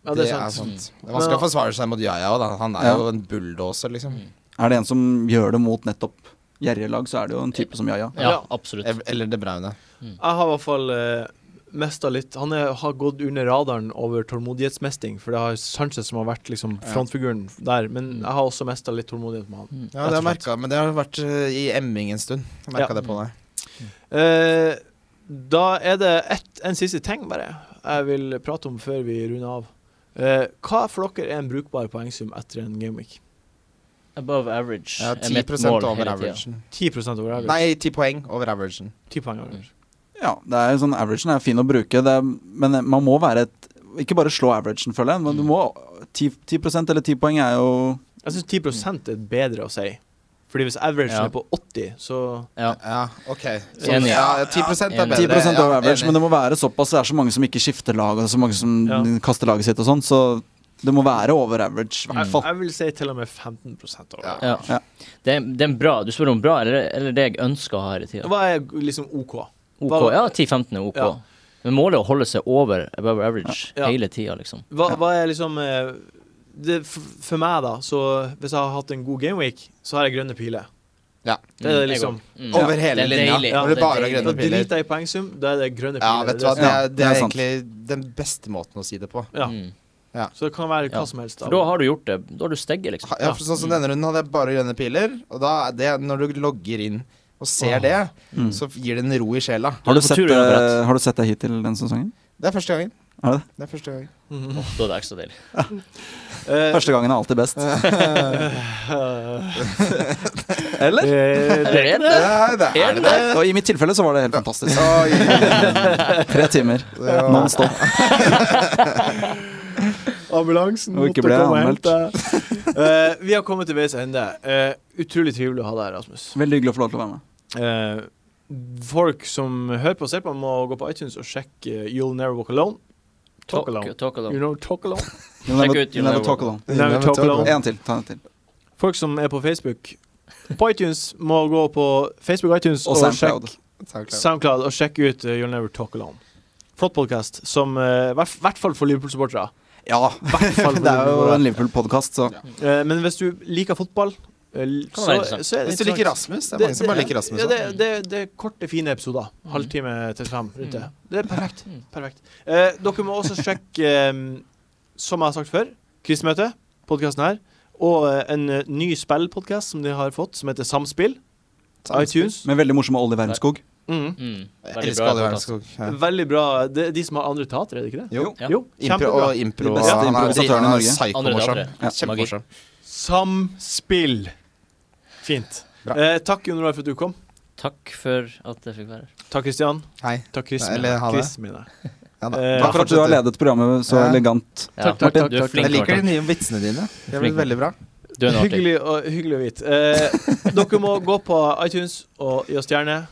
Ja, det er altså- sant. Det er vanskelig å forsvare seg mot Yaya òg, da. Han er Ja. jo en bulldoser, liksom. Mm. Er det en som gjør det mot nettopp gjerrige lag, så er det jo en type som Jaja. Ja, Ja. absolutt. Ev- Eller De Braune. Jeg har i hvert fall uh, mista litt Han er, har gått under radaren over tålmodighetsmesting, for det har Sanchez som har vært liksom, frontfiguren der, men jeg har også mista litt tålmodighet med han. Mm. Ja, det har jeg merket, men det har vært eh, i emming en stund. Jeg merket Ja. det på deg. Eh, da er det ett, en siste ting bare jeg vil prate om før vi runder av. Eh, hva for dere er en brukbar poengsum etter en gameweek? Above average. Ja, er 10 mitt mål over hele tiden. averagen. 10 over average? Nei, 10 poeng over averagen. 10 poeng over average. Ja, det er jo sånn averagen er fin å bruke, det er, men eh, man må være et Ikke bare slå averagen, føler jeg, men du må 10, 10 eller 10 poeng er jo Jeg syns 10 er bedre å si. Fordi hvis averagen Ja. er på 80, så Ja. Ja, ok. Så, Enig. ja, 10 er Enig. bedre. 10 over Ja, average, enig. men det må være såpass. Det er så mange som ikke skifter lag, og så mange som Ja. kaster laget sitt og sånn, så det må være over average, i hvert jeg, fall. jeg vil si til og med 15 over. Mm. Ja. average. Ja. Ja. Det, er, det er en bra Du spør om bra, eller, eller det jeg ønsker å ha hele tida. Hva er liksom OK? OK. hva- Ja, 10-15 er OK. Ja. Men målet er å holde seg over above average Ja. Ja. hele tida, liksom. Hva, Ja. hva er liksom eh, det, for, for meg, da, så hvis jeg har hatt en god gameweek, så har jeg grønne piler. Ja. Det er Mm, det jeg liksom. Mm. Over hele Det er linja. deilig. Ja, Hvor det Det er bare er deilig. Da grønne piler. driter jeg i poengsum, da er det grønne Ja, piler. vet du Det hva, er sånn- det Ja, er, det det er er sant. egentlig den beste måten å si det på. Ja. Mm. Så det kan være hva Ja. som helst. For da har du gjort det. Da har du steget, liksom. Ja, for sånn som denne runden hadde jeg bare grønne piler, og da er det når du logger inn og ser Åh. det, Mm. så gir det en ro i sjela. Har du, Mm. på sett, tur, Jan Brett. eh, har du sett deg hittil den sesongen? Det er første gangen. Er det det? Det er første gangen. Mm. Da er det ekstra deilig. Eh, Første gangen er alltid best. Eller? eh, Eller er det? Nei, det er det. Og I mitt tilfelle så var det helt fantastisk. Tre timer Ja. non stop. Ambulansen Og ikke ble anmeldt. deg. Eh, vi har kommet til veis ende. Eh, utrolig trivelig å ha deg her, Rasmus. Veldig hyggelig å få lov til å være med. Eh, folk som hører på og ser på, må gå på iTunes og sjekke eh, You'll Never Walk Alone. Talk alone. Talk alone. You know, talk alone. You'll never- ut, you'll Jon never Øyvind. talk alone. Never talk alone. En til. ta en til Folk som er på Facebook På iTunes må gå på Facebook iTunes Og og, SoundCloud. sjekk SoundCloud og sjekke ut eh, You'll Never Talk Alone. Flott podkast, som eh, i hvert fall for Liverpool-supportere. Ja, Hvert fall for det er jo Liverpool-supportere. en Liverpool-podkast, så Eh, men hvis du liker fotball, eh, l- Kan så, så, være er interessant. det Hvis du liker Rasmus, det er Det- mange som bare det- liker sånn. Rasmus. Ja, også. det, det, det er korte, fine episoder. Halvtime til fem. Rundt det. Mm. det er perfekt. Mm. perfekt. Eh, dere må også sjekke, eh, som jeg har sagt før, Krisemøtet, podkasten her, og eh, en eh, ny spillpodkast som de har fått, som heter Samspill. iTunes. med veldig morsomme Olli Wermskog. Mm. Mm. Jeg Veldig elsker bra. Oliver podcast. Ernskog. Ja. Veldig bra. Det er de som har andre teatere, er det ikke det? Jo. Ja. Jo, Impro kjempebra. og impro. De beste han er- improvisatørene i han er Norge. Psykomorsom. Andre datere. Kjempemorsom. Samspill. Fint. Bra. Eh, takk, Jon Roar, for at du kom. Takk for at jeg fikk være her. Takk, Kristian. Hei. Takk, Chris. Eller Mina. ha det. Chris Mina. Ja, da. Eh, Bare Takk for at du har fortsett, ledet programmet så Ja. elegant. Ja, Takk, takk, Martin, du takk, er takk. flink. Jeg liker de Martin. nye vitsene dine. De er Flink. veldig bra. Du er en artig. Hyggelig, å, hyggelig å vite. Eh, dere må gå på iTunes og gi oss stjerne.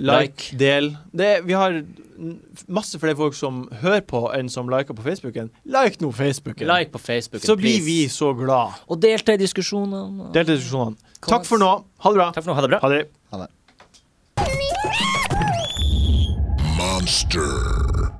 Like, del. Det, vi har n- masse flere folk som hører på, enn som liker på Facebooken. Like nå Facebooken, Like på Facebook. så blir vi så glad. Og delta i diskusjonene. Del til diskusjonene. Takk for nå. Ha det bra. Takk for nå. Ha det bra. Ha det. Monster.